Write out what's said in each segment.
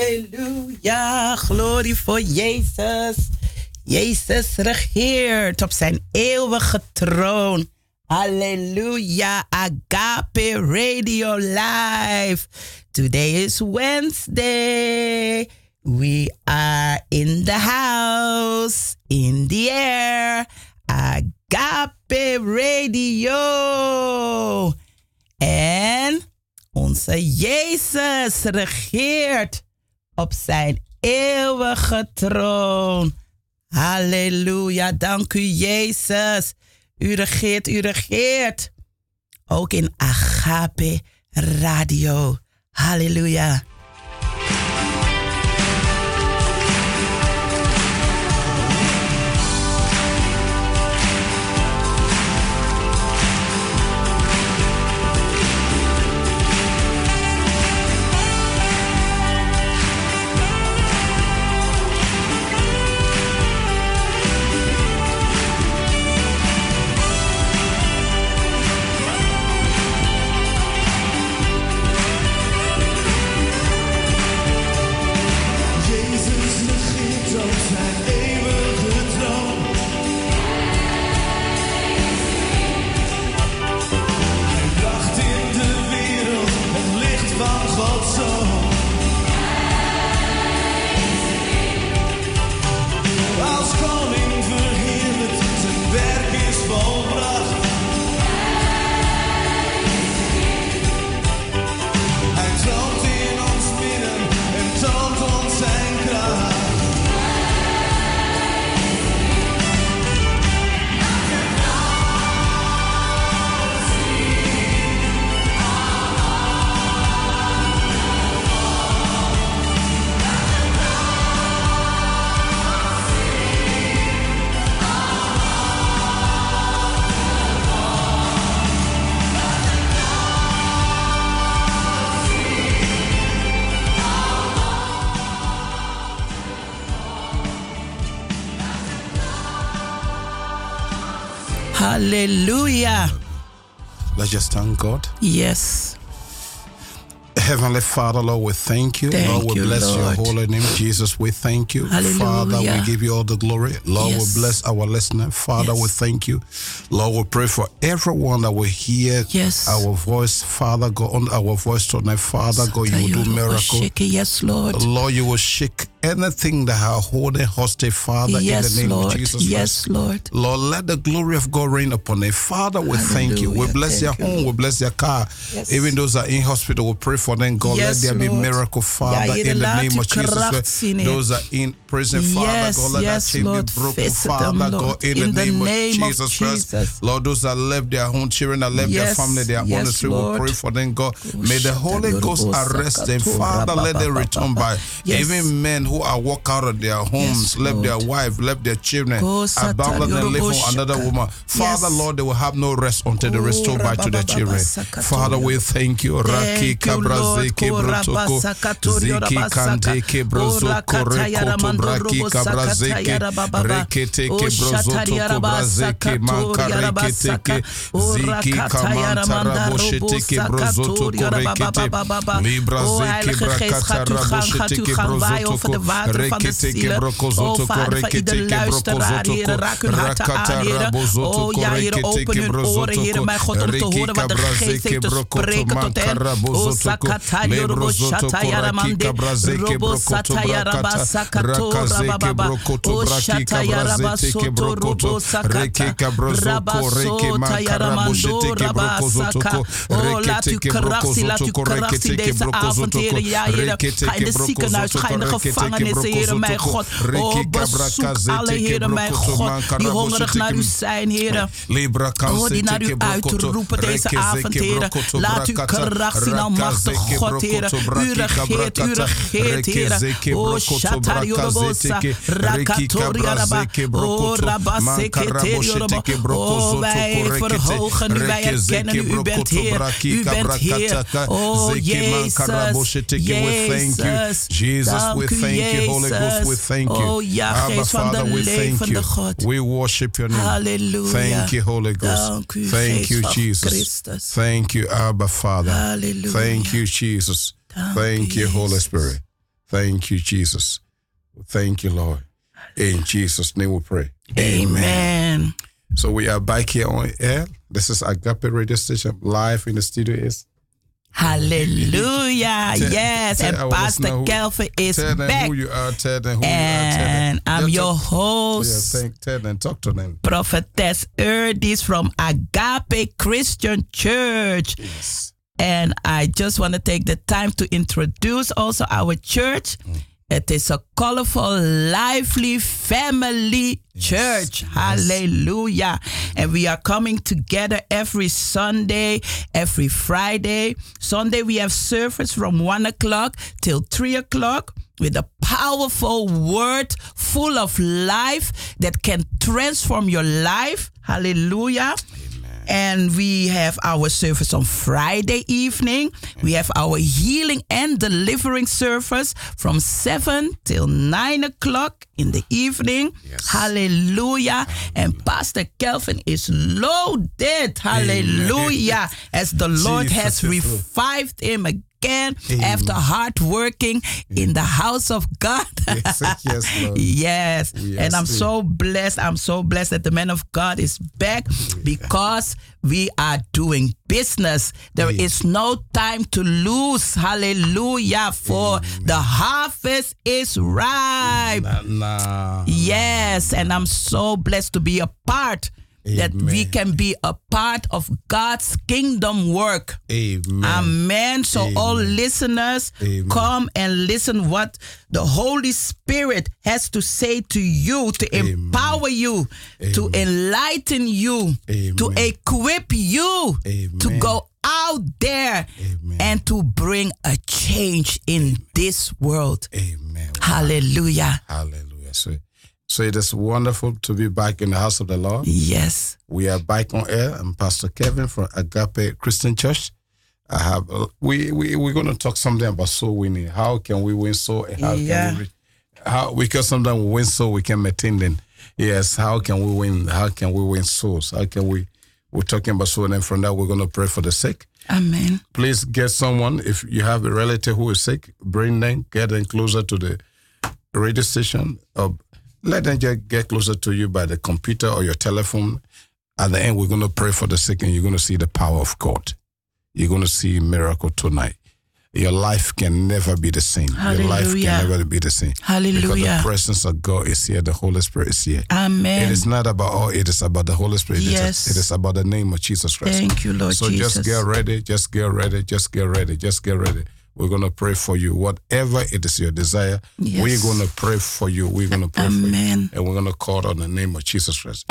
Halleluja, glorie voor Jezus. Jezus regeert op zijn eeuwige troon. Halleluja, Agape Radio Live. Today is Wednesday. We are in the house, in the air. Agape Radio. En onze Jezus regeert op zijn eeuwige troon. Halleluja, dank u Jezus. U regeert, u regeert. Ook in Agape Radio. Halleluja. Hallelujah. Let's just thank God. Yes. Heavenly Father, Lord, we thank you. Thank Lord, we you, bless Lord. your holy name. Jesus, we thank you. Father, we Hallelujah. give you all the glory. Lord, Yes. we bless our listener. Father, we Yes. thank you. Lord, we pray for everyone that will hear Yes. our voice. Father, God, on our voice tonight. Father, God, you will do Tayo miracle. Roboshiki, Yes, Lord. Lord, you will shake anything that are holding hostage, Father, in Yes, the name Lord. of Jesus Christ. Yes, Lord. Lord, let the glory of God reign upon it. Father, we thank you. We Hallelujah. bless their Thank you, home. We Lord. bless their car. Yes. Even those that are in hospital, we pray for them. God, Yes, let there be Lord. miracle, Father, Ja, je in the laat name uw of Jesus. kracht Christ. zien in. Those that are in prison, Father, Yes, God, let yes, that chain Lord. be broken, Visit Father, them, God, Lord, in, in the the name, name of of Jesus Jesus. Christ. Lord, those that left their own children, that left their Yes, family, their own yes, street, we Lord. Oh, pray for them, God. May the Shata Holy Ghost Yorobo arrest them. Sakato Father, let them return by. Yes. Even men who are walk out of their homes, left their Lord. wife, left their children, Go abandoned and live on another Satarioroboshaka. woman. Father, Yes. Lord, they will have no rest until they Oh, restore back to their children. rababababasakatorio. Father, we thank you. Raki Thank you, kabra Lord. zeke brotoko, Korabasakatorio ziki kante rabasaka. kebrozo Orakataya korekoto braki ramandorobo kabra sakataya zeke rabababa. rekete O kebrozo shataria toko brazeke manka rabasakatoria rekete rabasaka. ke ziki Orakataya kamanta ramandarobo raboshete kebrozo sakatoria toko rekete rabababababa. libra O zeke Heilige Geest, gaat brakata u gang, gaat raboshete u gang waaien kebrozo over de toko wateren van de rekete zielen. kebroko O zoto Vader van ieder korekete kebroko luisteraar, zotoko heren, raak hun harten aan, rakata heren. rabozoto O ja, heren, korekete open hun oren, heren, kebrozotoko mijn God, om te Riki horen wat de kabraze Geest heeft te kebrokoto spreken tot hen. O mankarabozotoko sakatario robo lebrozotoko shataya raki ramande, kabraze robo kebrokoto sataya brakata rabasakato rakaze rabababa. kebrokoto O braki shataya kabraze te rabasoto kebrokoto robo reke sakata, kabrozoko reke rabasotaya mankaraboshete ramando kebrozotoko rabasaka. O laat rekete uw kracht zien, laat uw kebrozotoko kracht zien rekete deze avond, kebrozotoko heren. Ja, heren, rekete ga in de ziekenhuis, ga kebrozotoko in de rekete gevangenissen, heren, mijn kebrozotoko God. O riki bezoek alle, kabrakaze te heren, mijn God, die hongerig naar u kebrokotto zijn, heren. Libra Oh, die kansete naar u kebrokoto, uitroepen deze avond, rekezeke heren. brokoto Laat uw brakata, kracht zien, almachtig rakazeke God, heren. brokoto U brakika regeert, u brakata, regeert, heren. rekezeke Oh, brokoto shatariorobosa, brakazeteke, rekika rakatoriaraba. brazeke Oh, brokoto, rabaseketeriorobo. mankaraboshete Oh, brokozoto wij korekete, verhogen u, wij erkennen rekezeke u. U bent brokoto Heer, u brakika bent Heer. brakataka, Oh, zeke Jezus, mankaraboshete. We thank you, Jezus. Jesus. We Dank u, thank you, Holy Ghost. We Jezus. thank you, Oh, ja, Abba geest van de Father. We thank you. levende God. We worship your name. Halleluja. Thank you, Holy Ghost. Dank u, Thank Geest you, van Jesus. Christus. Thank you, Abba Father. Halleluja. Thank you, Jesus. Dank Thank u, you, Holy Jezus. Spirit. Thank you, Jesus. Thank you, Lord. In Jesus' name we pray. Amen. So we are back here on air. This is Agape Radio Station. Live in the studio is Hallelujah. Tell- Ah, yes. tell And our listener Pastor who- Kelvin is tell them back. who you are, tell them And who you are, tell them. I'm Just your talk- host. Yeah, thank, tell them, talk to them. prophetess Erdis from Agape Christian Church. Yes. And I just want to take the time to introduce also our church. It is a colorful, lively family church. Hallelujah. And we are coming together every Sunday, every Friday. Sunday, we have service from 1 o'clock till 3 o'clock with a powerful word full of life that can transform your life. Hallelujah. And we have our service on Friday evening. We have our healing and delivering service from 7 till 9 o'clock in the evening. Hallelujah. And Pastor Kelvin is loaded. Hallelujah. As the Lord has Jesus is Lord. revived him again after hard working in the house of God. Yes, yes, Lord. Yes. We and are I'm saved. so blessed. I'm so blessed that the man of God is back because we are doing business. There is no time to lose. Hallelujah. For the harvest is ripe. Nah, nah. Yes, and I'm so blessed to be a part that we Amen. can be a part of God's kingdom work. Amen. Amen. So all listeners, Amen. come and listen what the Holy Spirit has to say to you to empower you, to enlighten you, to Amen. equip you to Amen. go out there Amen. and to bring a change in this world. Amen. Hallelujah. Hallelujah. So, so it is wonderful to be back in the house of the Lord. Yes. We are back on air. I'm Pastor Kevin from Agape Christian Church. I have uh, we we we're going to talk something about soul winning. How can we win soul? And how Yeah. can we? Reach? How because sometimes we win soul, we can maintain them. Yes. How can we win? How can we win souls? How can we? We're talking about soul, and then from that we're going to pray for the sick. Amen. Please get someone if you have a relative who is sick. Bring them, get them closer to the radio station or let them just get closer to you by the computer or your telephone. At the end, we're going to pray for the sick and you're going to see the power of God. You're going to see a miracle tonight. Your life can never be the same. Your life Hallelujah. can never be the same. Because Hallelujah. the presence of God is here, the Holy Spirit is here. Amen. It is not about all, it is about the Holy Spirit. It is- Yes. It is, about the name of Jesus Christ. Thank you, Lord So Jesus. just get ready, just get ready, just get ready, just get ready. We're going to pray for you. Whatever it is your desire, Yes. we're going to pray for you. We're going to pray for you. Amen. And we're going to call on the name of Jesus Christ.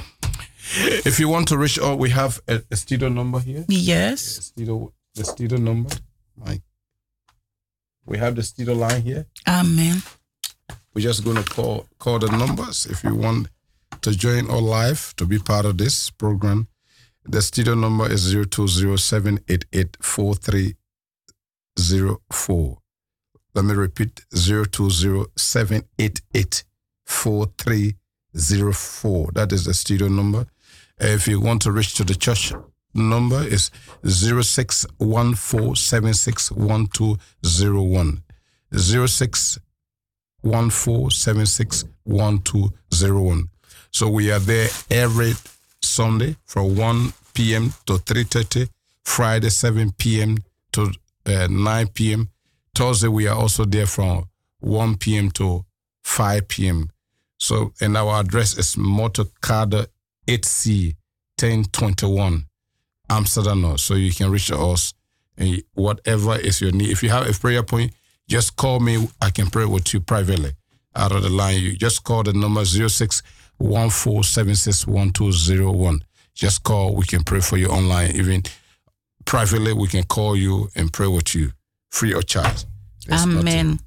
If you want to reach out, we have a, a studio number here. Yes. Studio, the studio number. My, we have the studio line here. Amen. We're just going to call call the numbers if you want to join our live to be part of this program. The studio number is 0207884304. Let me repeat 0207884304. That is the studio number. If you want to reach to the church number is 0614761201. 06 one four seven six one two zero one. So we are there every Sunday from one p.m. to three thirty. Friday seven p.m. to uh, nine p.m. Thursday we are also there from one p.m. to five p.m. So and our address is Motocada eight C ten twenty one. Amsterdam North. So you can reach us and whatever is your need. If you have a prayer point, just call me. I can pray with you privately out of the line. You just call the number 0614761201. Just call. We can pray for you online. Even privately, we can call you and pray with you free of charge. It's nothing. Amen.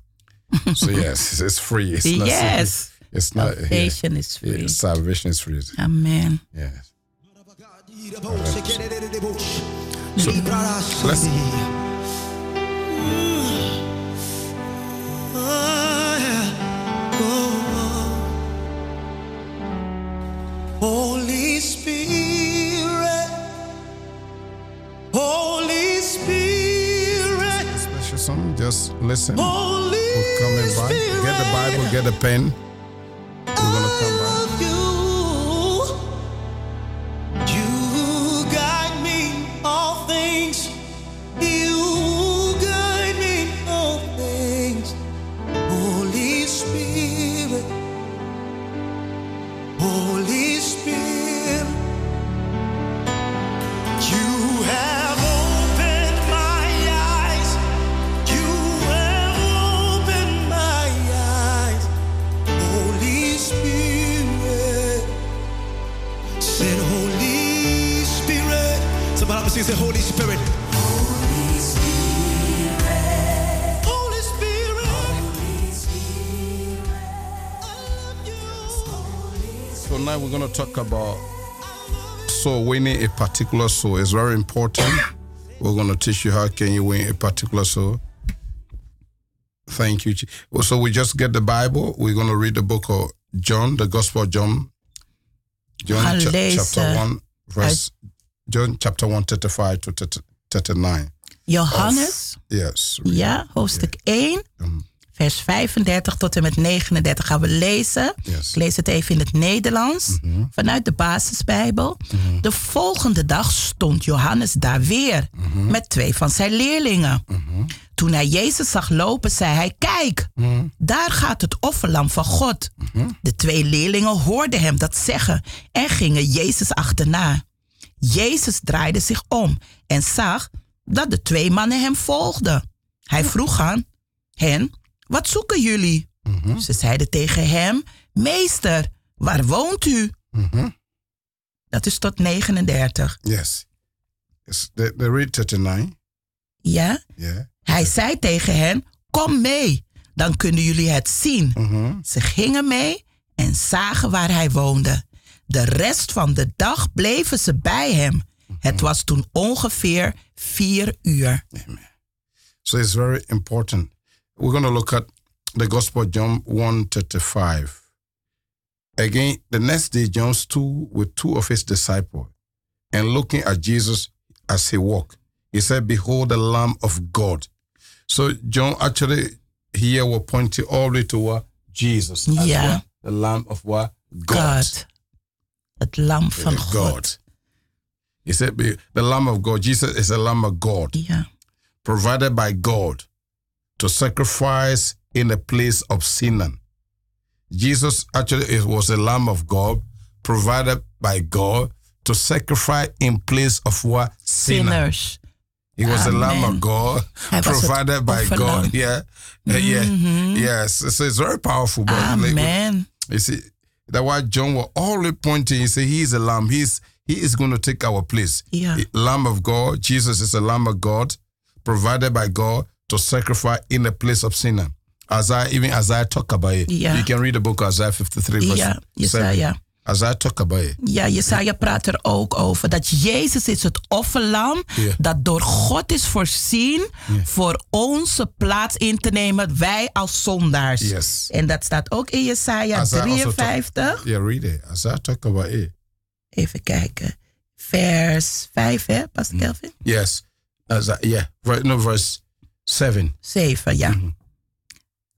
So yes, it's free. It's not Yes. It's not yeah. Salvation is free. Yeah, salvation is free. Amen. Yes. Let's. let's- Holy Spirit, Holy Spirit, Special song. Just listen. Holy We're coming by. Get the Bible, get a pen. We're going to come by. of you. You guide me all things. You guide me all things. Holy Spirit. Holy Spirit. You have opened my eyes. You have opened my eyes. Holy Spirit. Said Holy Spirit. Somebody help me sing, say Holy Spirit. Holy Spirit. I love you. Tonight we're going to talk about soul winning a particular soul. It's very important. we're going to teach you how can you win a particular soul. Thank you. Je- So we just get the Bible. We're going to read the book of John, the Gospel of John, John cha- Allee, chapter sir. one, verse John chapter one thirty five to thirty- thirty nine. Johannes, Yes. ja, hoofdstuk 1, Mm. vers 35 tot en met 39 gaan we lezen. Yes. Ik lees het even in het Nederlands, vanuit de basisbijbel. De volgende dag stond Johannes daar weer met twee van zijn leerlingen. Toen hij Jezus zag lopen, zei hij: Kijk, daar gaat het offerlam van God. De twee leerlingen hoorden hem dat zeggen en gingen Jezus achterna. Jezus draaide zich om en zag dat de twee mannen hem volgden. Hij vroeg aan hen: Wat zoeken jullie? Mm-hmm. Ze zeiden tegen hem: Meester, waar woont u? Dat is tot 39. Mm-hmm. Yes. Yes. They, they read thirty nine. Ja? Yeah. Hij zei tegen hen: Kom mee, dan kunnen jullie het zien. Mm-hmm. Ze gingen mee en zagen waar hij woonde. De rest van de dag bleven ze bij hem. Het was toen ongeveer vier uur. So it's very important. We're going to look at the Gospel of John 135. Again, the next day John stood with two of his disciples and looking at Jesus as he walked, he said, Behold the Lamb of God. So John actually here was pointing all the way to what? Jesus. as Yeah. what? The Lamb of what? God. Het lam van God. God. He said, "Be- The Lamb of God. Jesus is the Lamb of God Ja. provided by God to sacrifice in the place of sinner. Jesus actually is- was the Lamb of God provided by God to sacrifice in place of what? Sinner. Sinners. He was the Lamb of Amen. God Hij was het provided by offerlam. God. Yeah. Uh, Yeah. Mm-hmm. Yes. So it's very powerful. But like, Amen. you see, that's why John was always pointing. He said, He is a lamb. He's He is going to take our place. Ja. Lamb of God. Jesus is a Lamb of God, provided by God to sacrifice in the place of sinner. As I even as I talk about it, Yeah. you can read the book of Isaiah 53, verse Ja, seven. Jesaja. As I talk about it, Ja, Jesaja praat er ook over dat Jezus is het offerlam Ja. dat door God is voorzien voor onze plaats in te nemen, wij als zondaars. Yes. En dat staat ook in Jesaja As I also talk- 53. yeah, read it. As I talk about it, Even kijken. Vers 5, hè, Mhm. Pastor Kelvin? yes, as I, yeah, right, no, verse seven. 7, ja. Mhm.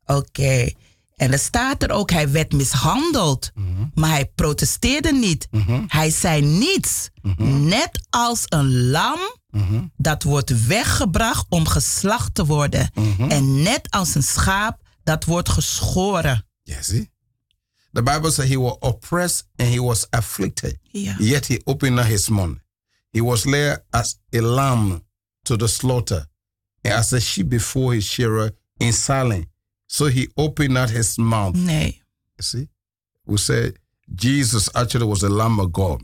Oké. En er staat er ook, hij werd mishandeld. Mhm. Maar hij protesteerde niet. Hij zei niets. Mhm. Net als een lam Mm-hmm. dat wordt weggebracht om geslacht te worden. Mhm. En net als een schaap dat wordt geschoren. Yeah, see, the Bible says he was oppressed and he was afflicted. Ja. Yet he opened not his mouth. He was led as a lamb to the slaughter, and as a sheep before his shearer in silence. So he opened not his mouth. Nee. You see, we said Jesus actually was a lamb of God,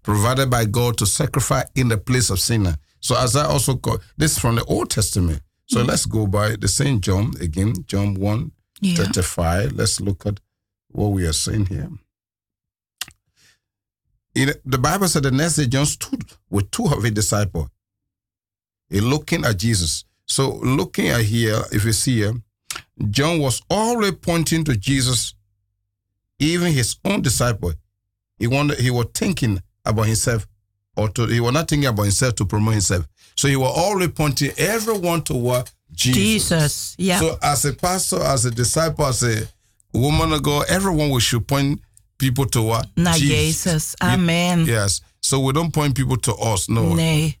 provided by God to sacrifice in the place of sinner. So as I also call this is from the Old Testament. So let's go by the Saint John again, John 1, Ja. 35. Let's look at what we are seeing here. In, the Bible said the next day John stood with two of his disciples, he looking at Jesus. So looking at here, if you see here, John was always pointing to Jesus, even his own disciple. He wondered, he was thinking about himself or to, he was not thinking about himself to promote himself. So he was always pointing everyone toward Jesus. Jesus. Yeah. So as a pastor, as a disciple, as a woman of God, everyone we should point people toward Naar Jesus. Jezus. You- Amen. Yes. So we don't point people to us. No. Nee.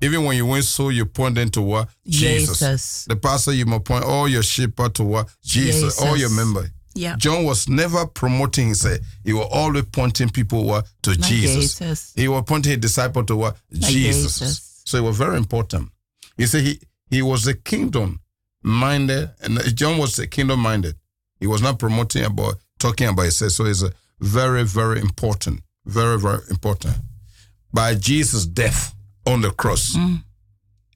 Even when you went so you point them toward Jesus. Jezus. The pastor, you must point all your shepherd toward Jesus, all your Jesus. member. Ja. John was never promoting himself. He was always pointing people toward to Naar Jesus. Jezus. He was pointing his disciple toward Jesus. Jesus. So it was very important. You see, he, he was a kingdom minded, and John was a kingdom minded. He was not promoting about talking about himself. So it's a very, very important, very, very important. By Jesus' death on the cross,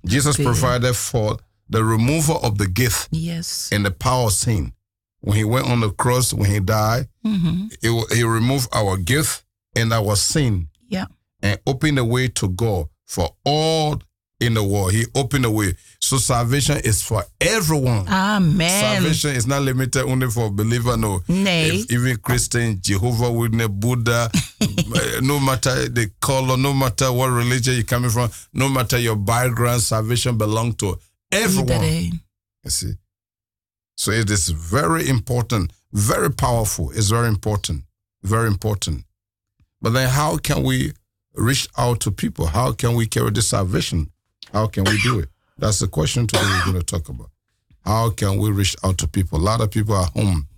Jesus Mm. Okay. provided for the removal of the gift Yes. and the power of sin. When he went on the cross, when he died, Mhm. he, wa- he removed our gift and our sin Ja. and opened the way to God for all in the world. He opened the way. So salvation is for everyone. Amen. Salvation is not limited only for believer, no. Nee. If even Christian, Jehovah Witness, Buddha, eh, no matter the color, no matter what religion you're coming from, no matter your background, salvation belongs to everyone. Iedereen. You see? So it is very important, very powerful. It's very important, very important. But then how can we reach out to people? How can we carry this salvation? How can we do it? That's the question today we're going to talk about. How can we reach out to people? A lot of people are home.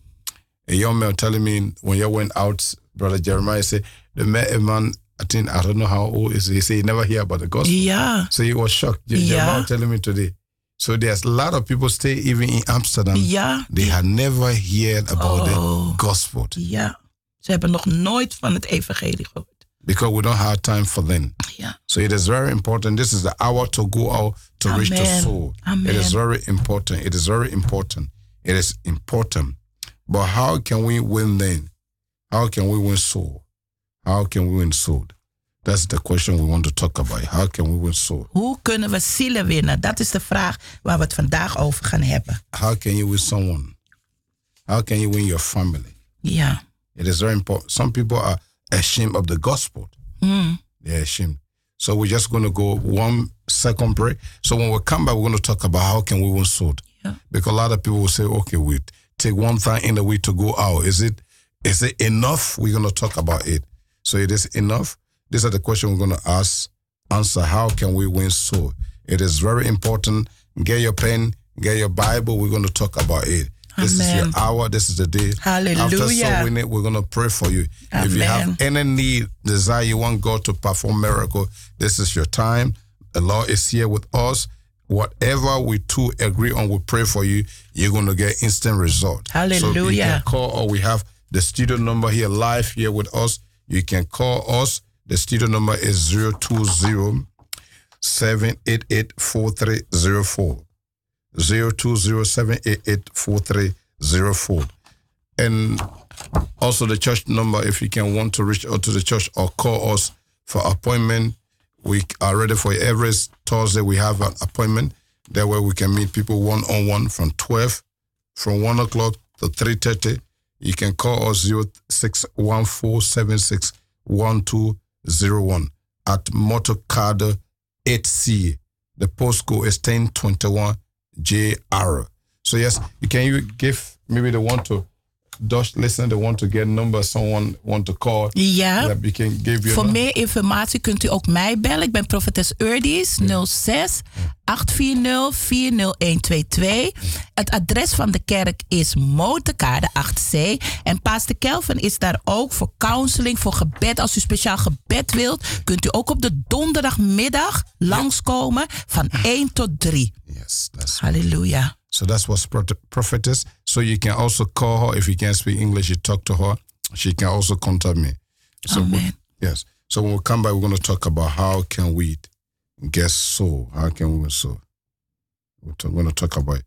A young man telling me when you went out, Brother Jeremiah said, the met a man, I think, I don't know how old is he, he said he never hear about the gospel. Ja. So he was shocked. Your Yeah. Jamal telling me today. So there's a lot of people stay even in Amsterdam. Ja. They had never heard Oh. about the gospel Ja. Ze hebben nog nooit van het evangelie gehoord. because we don't have time for them. Ja. So it is very important. This is the hour to go out to reach the Amen. soul. Amen. It is very important. It is very important. It is important. But how can we win then? How can we win soul? How can we win soul? That's the question we want to talk about. How can we win soul? Hoe kunnen we zielen winnen? Dat is de vraag waar we het vandaag over gaan hebben. How can you win someone? How can you win your family? Ja. It is very important. Some people are ashamed of the gospel. Hmm. They're ashamed. So we're just going to go one second break. So when we come back, we're going to talk about how can we win soul. Ja. Because a lot of people will say, okay, we take one thing in the way to go out. Is it is it enough? We're going to talk about it. So it is enough. These are the questions we're going to ask. Answer, how can we win soul? It is very important. Get your pen, get your Bible. We're going to talk about it. This is Amen. your hour. This is the day. After Hallelujah. soul winning, we're going to pray for you. If you Amen. have any need, desire, you want God to perform miracle, this is your time. The Lord is here with us. Whatever we two agree on, we pray for you. You're going to get instant result. So you Hallelujah. can call or we have the studio number here live here with us. You can call us. The studio number is 020 788 4304. 020 788 4304. And also the church number if you can want to reach out to the church or call us for appointment we are ready for you. every thursday we have an appointment that way we can meet people one-on-one from 12 from 1 o'clock to 3.30 you can call us 0614761201 at motocard 8c the postcode is 1021 jr so yes you can you give maybe the one to Dutch listener, they want to get number, someone want to call. Ja. Yeah, we can give you. Voor number. meer informatie kunt u ook mij bellen. Ik ben profetes Urdis 06 840 40122. Het adres van de kerk is Motorkade 8C. En Pastor Kelvin is daar ook voor counseling, voor gebed. Als u speciaal gebed wilt, kunt u ook op de donderdagmiddag langskomen van 1 tot 3. Yes, that's Halleluja. so. That's what's prophet- prophetess. So you can also call her if you can speak English. You talk to her. She can also contact me. So we- Amen. yes. So when we come back, we're going to talk about how can we get soul. How can we win soul? We're, t- going to talk about. It.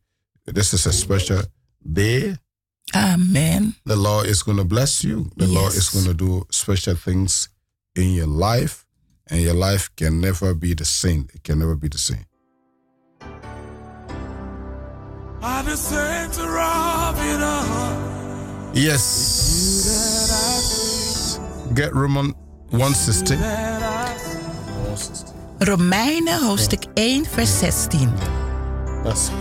This is a special day. Amen. The Lord is going to bless you. The Lord Yes. is going to do special things in your life, and your life can never be the same. It can never be the same. I just had to rob it up. Yes. Get Roman 160. That I Romeinen hoofdstuk 1, vers 16. That's two.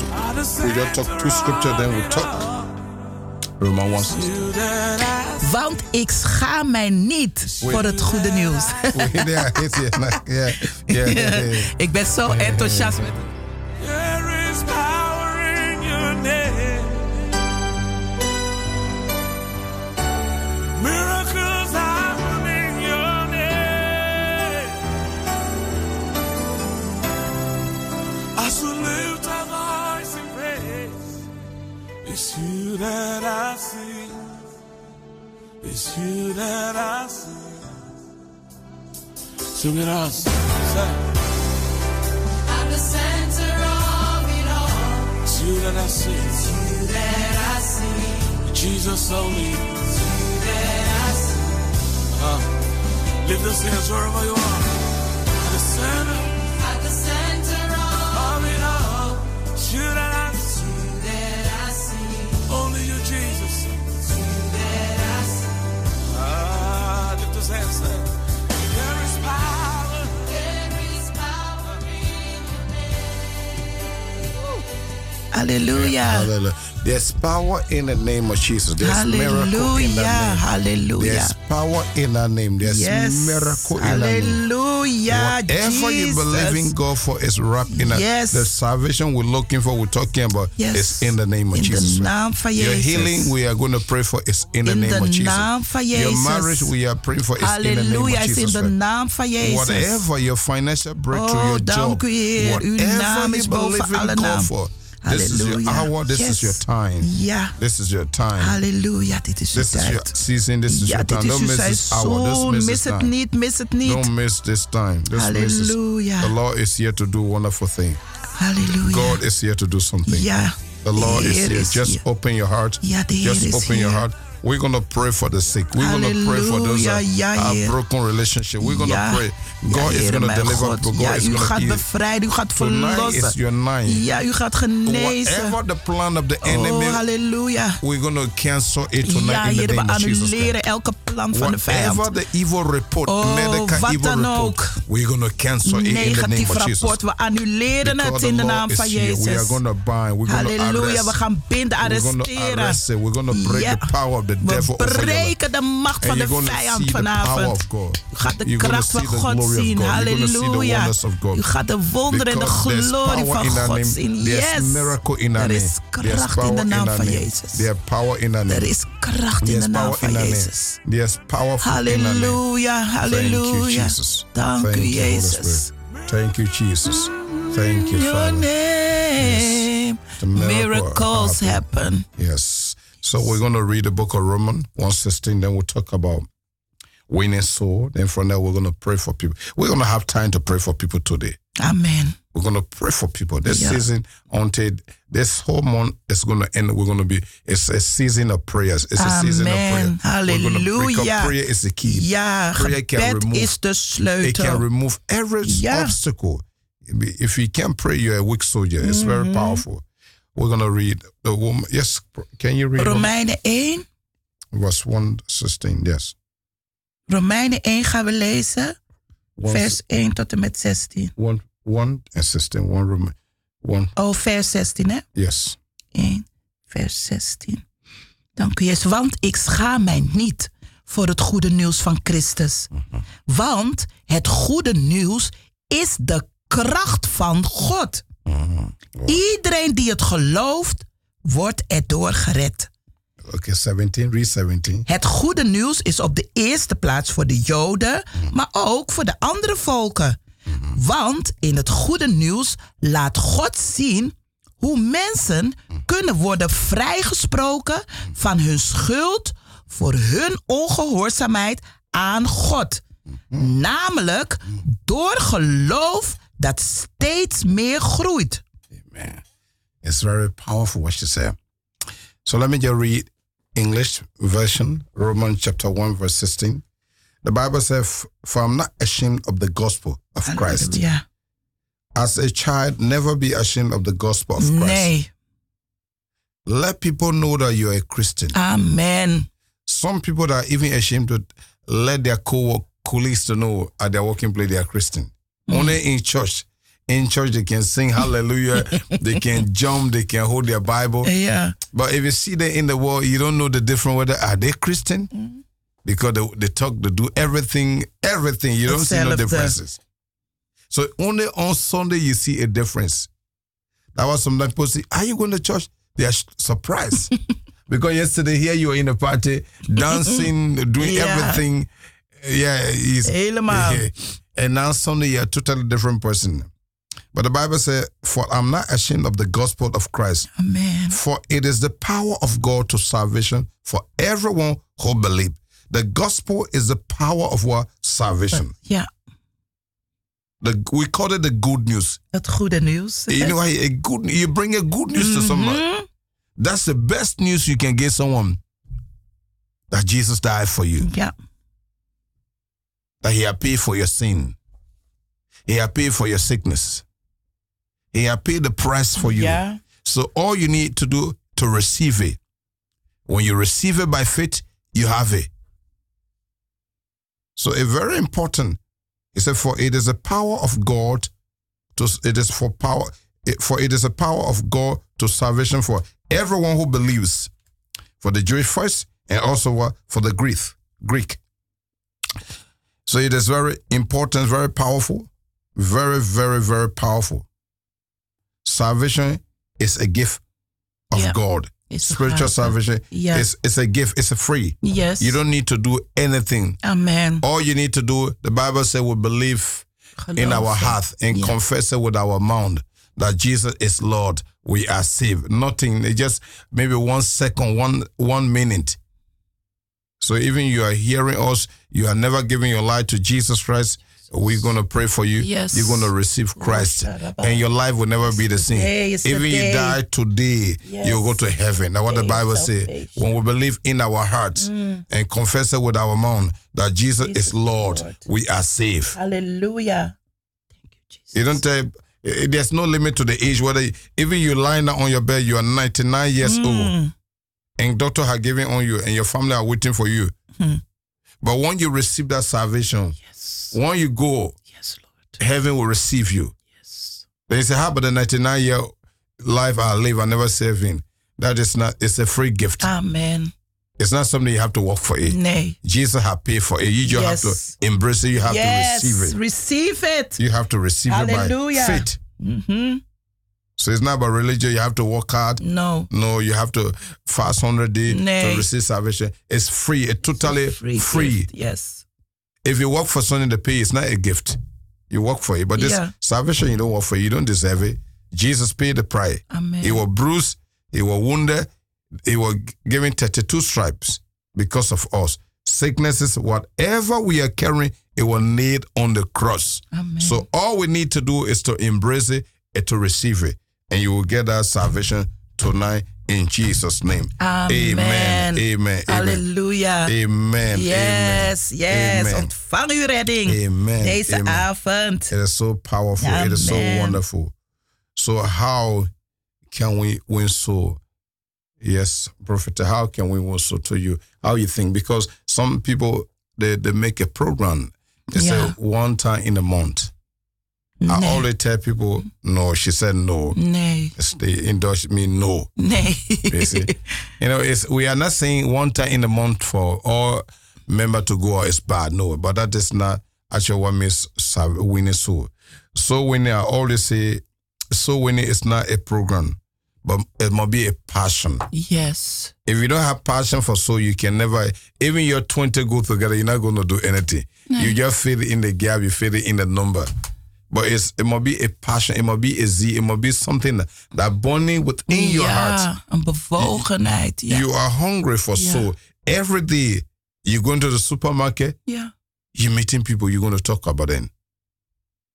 We just talk two scripture, then we talk. Roman 1 6. Want ik schaam mij niet voor het goede nieuws. yeah, yeah, yeah, yeah, yeah, yeah. ik ben zo enthousiast met het There is power in your name. Miracles happen in your name. I shall lift a voice in praise. It's you that I see. It's you that I see. Sing it out. Say, I'm the center of it all. It's you that I see. You that I see, Jesus only. that I see. Uh, Lift those hands wherever you are. At the center At the center of of it all. You that I see. you that I see, Only you, Jesus. that I see. Ah, lift those hands there. There is power. There is power in your Halleluja. Hallelujah. There's power in the name of Jesus. There's miracle in the Halleluja. name. Halleluja. There's power in the name. There's Yes. miracle in the name. Halleluja. Whatever you believe in Jesus. God for is wrapped in that. Yes. the salvation we're looking for, we're talking about, Yes. is in the name of In de Jesus. naam van Your Jezus. healing, we are going to pray for, is in the In name de of Jesus. naam van Your Jezus. marriage, we are praying for, is in the name Halleluja of is in Jesus. de naam van Jezus. Whatever your financial breakthrough, Oh, your dank job, u, Heer. Uw whatever naam you is boven believe in alle God naam. for, this is your Halleluja. hour, this Yes. is your time. Ja. This is your time. Halleluja, dit is uw This is your tijd. season, this is Ja, your dit time. is Don't uw miss this hour, don't seizoen. miss Mis this het time. niet, mis het niet. Don't miss this time. Don't miss this. Hallelujah. Oh, The Lord is here to do wonderful thing. Halleluja. God is here to do something. Ja. The Lord is Heer here. is Just hier. open your heart. Ja, de Heer Just is open your hier. heart. We're gonna pray for the sick. We're gonna pray for those that Hallelujah, ja, have Heer. broken relationship. We're gonna Ja. pray. Ja, God is Heere, gonna mijn deliver. God. God ja, is u gonna gaat heal. bevrijden, u gaat Tonight is verlossen. your night. Ja, u gaat genezen. Whatever the plan of the enemy, uh, Oh, halleluja. we're gonna cancel it tonight Ja, in the Heer, we name of Jesus. Christ. annuleren elke plan van de vijand. Whatever the evil report, Oh, medical wat evil dan report, ook. we're gonna cancel it in the name Negatief of Jesus. rapport, we annuleren Because het the in de Lord naam is van here. We are Jezus. gonna bind. We're gonna Halleluja, arrest. we gaan binden, We're gonna arresteren. arrest it. We're gonna break Ja. the power of the We devil over your life. breken de macht And van de you're gonna see vijand the power vanavond. of God. U gaat de You're gonna kracht van see the God glory of zien. God. You're gonna see the Halleluja. wonders of God. U gaat de wonderen en de Because there's glorie power van in our God name. zien. There's Yes. miracle in our Er name. is There's kracht in power de naam our van name. Jezus. There's power in our name. Er is kracht in There's de naam power van in our Jezus. name. There's powerful in our name. Halleluja, Thank you, halleluja. Jesus. Dank Thank u, you, Holy Jezus. Spirit. Thank you, Jesus. Thank you, Your Father. name, The miracle miracles happen. happen. Yes. So we're going to read the book of Romans 116. Then we'll talk about winning soul. Then from there, we're going to pray for people. We're going to have time to pray for people today. Amen. We're going to pray for people this Yeah. season until this whole month is going to end. We're going to be, it's a season of prayers. It's a season of prayer. Amen. We're gonna pray, because Hallelujah. Prayer is the key. Ja, Prayer can gebed remove- is de It can sleutel. remove every Yeah. obstacle. If you can't pray, you're a weak soldier. It's Mm-hmm. very powerful. We're going to read the woman. Yes, can you read Romans? Romeinen 1. verse 116? Yes. Romeinen 1 gaan we lezen. One, Vers 1 tot en met 16. One, one and 16. One room. One. Oh, vers 16 hè? Yes. 1, vers 16. Dank u, Jezus. Want ik schaam mij niet voor het goede nieuws van Christus. Want het goede nieuws is de kracht van God. Iedereen die het gelooft, wordt erdoor gered. Okay, 17. Read 17. Het goede nieuws is op de eerste plaats voor de Joden, maar ook voor de andere volken. Want in het goede nieuws laat God zien hoe mensen kunnen worden vrijgesproken van hun schuld voor hun ongehoorzaamheid aan God. Namelijk door geloof dat steeds meer groeit. It's very powerful what she said. So let me just read English version, Romans chapter 1, verse 16. The Bible says, For I'm not ashamed of the gospel of Christ. Ja. As a child, never be ashamed of the gospel of Christ. Nee, Let people know that you're a Christian. Ah. amen. Some people that are even ashamed to let their co colleagues to know at their working place they are Christian. Only in church. In church, they can sing hallelujah. they can jump. They can hold their Bible. Yeah. But if you see them in the world, you don't know the difference whether are they Christian because they, they talk, they do everything, everything. You don't see no Except the- differences. So only on Sunday you see a difference. That was sometimes people say, "Are you going to church?" They are sh- surprised because yesterday here you were in a party dancing, doing Yeah. everything. Yeah, it's, Helemaal. and now suddenly you're a totally different person. But the Bible says, "For I'm not ashamed of the gospel of Christ." Amen. For it is the power of God to salvation for everyone who believe. The gospel is the power of what? Salvation. Ja, The, we call it the good news. het goede nieuws. You know, a good you bring a good news to someone. That's the best news you can give someone. That Jesus died for you. Mhm. Ja, that he had paid for your sin. He had paid for your sickness. He had paid the price for you. Yeah. So all you need to do to receive it. When you receive it by faith, you have it. So it's very important. He said, for it is the power of God to it is for power it- for it is the power of God to salvation for everyone who believes. For the Jewish first and also what? for the Greek Greek. So it is very important, very powerful, very, very, very powerful. Salvation is a gift of Yeah. God. It's Spiritual hard. salvation Yeah. is it's a gift, it's a free. Yes. You don't need to do anything. Amen. All you need to do, the Bible says we believe Oh, in our heart and Yeah. confess it with our mouth that Jesus is Lord. We are saved. Nothing. It just maybe one second, one one minute. So even you are hearing us, you are never giving your life to Jesus Christ. We're gonna pray for you. Yes. Oh, You're gonna receive Christ, and your life will never be the same. Today is the even you day. die today, you go Yes. to heaven. Now what the Day Bible of says, salvation. Mm. when we believe in our hearts and confess it with our mouth that Jesus, is Lord, Lord. we are saved. Hallelujah. Thank you, Jesus. You don't tell. eh, There's no limit to the age. Whether even you lying down on your bed, you are 99 years Hmm. Mm. old, and doctor are giving on you, and your family are waiting for you. Hmm. But when you receive that salvation, Yes. when you go, Yes, Lord. heaven will receive you. Yes. They say, "How about the 99 year life I live? I never serve him." That is not. It's a free gift. Ah. Amen. It's not something you have to work for. It. Nee. Jesus have paid for it. You just Yes. have to embrace it. You have yes. to receive it. Receive it. You have to receive Hallelujah. it by faith. Mhm. So it's not about religion. You have to work hard. No. No, you have to fast 100 days Nay. to receive salvation. It's free. It's totally free. gift. Yes. If you work for something, the pay it's not a gift. You work for it. But this Yeah. salvation, you don't work for it. You don't deserve it. Jesus paid the price. Amen. He was bruised. He was wounded. He was given 32 stripes because of us. Sicknesses, whatever we are carrying, it was nailed on the cross. Amen. So all we need to do is to embrace it and to receive it. And you will get that salvation tonight in Jesus' name. Amen. Amen. Amen. Amen. Hallelujah. Amen. Yes, yes. Amen. Ontvang uw redding Amen. deze Amen. avond. It is so powerful. It is so Amen. wonderful. So how can we win soul? Yes, Prophet, how can we win soul to you? How you think? Because some people they, they make a program. They Yeah. say one time in a month. I Nee. always tell people, no, she said no. Nee, They indulge me, no. nee. You see? you know, it's we are not saying one time in the month for all member to go out is bad. No, but that is not actually what makes sal- winning soul. So winning, I always say, so winning is not a program, but it must be a passion. Yes. If you don't have passion for soul, you can never. Even your twenty go together, you're not going to do anything. You just fill in the gap, you fill in the number. But it's, it must be a passion, it must be a zeal, it must be something that, that burning within your heart. ja, een bewogenheid. Ja. You are hungry for Yeah. soul. Every day you go into the supermarket, ja. you're meeting people you're going to talk about them.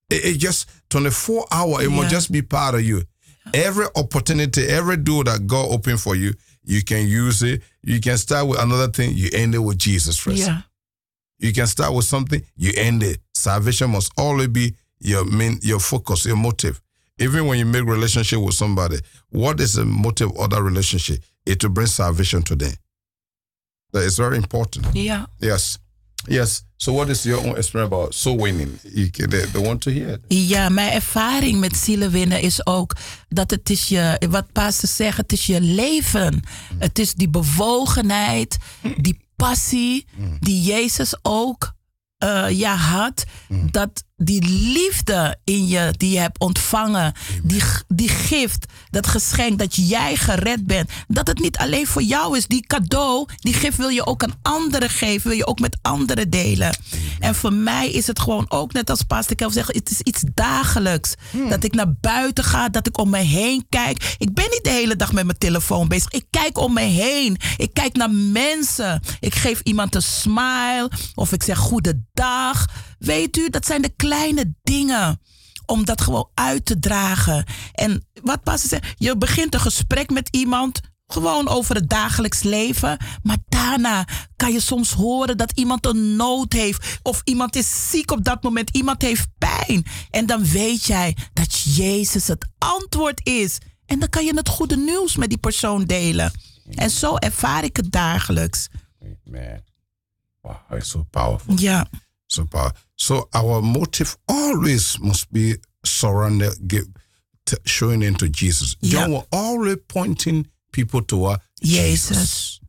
It, it just 24 hour, it Yeah. must just be part of you. Every opportunity, every door that God opened for you, you can use it. You can start with another thing, you end it with Jesus Christ. ja. You can start with something, you end it. Salvation must always be your main, your focus, your motive. Even when you make relationship with somebody, what is the motive of that relationship? It to bring salvation to them. That is very important. Ja. Yes. Yes. So, what is your own experience about soul winning? You, can- they, they want to hear it. Ja, mijn ervaring met zielen winnen is ook dat het is je, wat pastors zeggen, het is je leven. Mm. Het is die bewogenheid, die passie Mm. die Jezus ook eh, ja, had. Dat die liefde in je die je hebt ontvangen, die, g- die gift, dat geschenk dat jij gered bent, dat het niet alleen voor jou is. Die cadeau, die gift wil je ook aan anderen geven, wil je ook met anderen delen. En voor mij is het gewoon ook net als Pastor Kelf zegt, het is iets dagelijks. Dat ik naar buiten ga, dat ik om me heen kijk. Ik ben niet de hele dag met mijn telefoon bezig. Ik kijk om me heen. Ik kijk naar mensen. Ik geef iemand een smile of ik zeg goedendag. Weet u, dat zijn de kleine dingen om dat gewoon uit te dragen. En wat past het? Je begint een gesprek met iemand. Gewoon over het dagelijks leven. Maar daarna kan je soms horen dat iemand een nood heeft. Of iemand is ziek op dat moment. Iemand heeft pijn. En dan weet jij dat Jezus het antwoord is. En dan kan je het goede nieuws met die persoon delen. En zo ervaar ik het dagelijks. Man. Wow, it's so powerful. Ja. So powerful. So, our motive always must be surrender, give, t- showing into Jesus. Yeah. John was always pointing people toward Jesus. Jesus.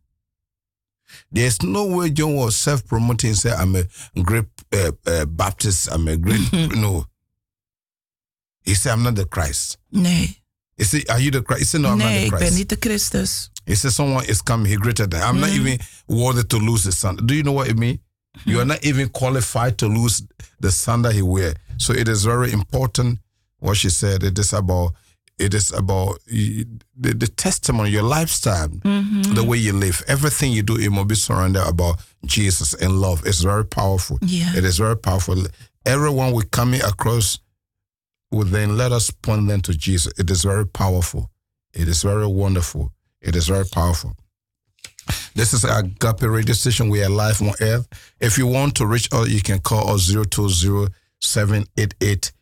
There's no way John was self promoting, say, I'm a great uh, uh, Baptist, I'm a great. no. He said, I'm not the Christ. Nee. He said, Are you the Christ? He said, No, I'm nee, not ik the ben Christ. niet de Christus. He said, Someone is coming, he greater than. I'm not even worthy to lose the son. Do you know what it means? You are not even qualified to lose the son that he wear. So it is very important what she said. It is about it is about y- the, the testimony, your lifestyle, the way you live. Everything you do, it must be surrounded about Jesus and love. It's very powerful. Ja. It is very powerful. Everyone we coming across with then let us point them to Jesus. It is very powerful. It is very wonderful. It is very powerful. This is Agape Radio Station. We are live on earth. If you want to reach us, you can call us 020 788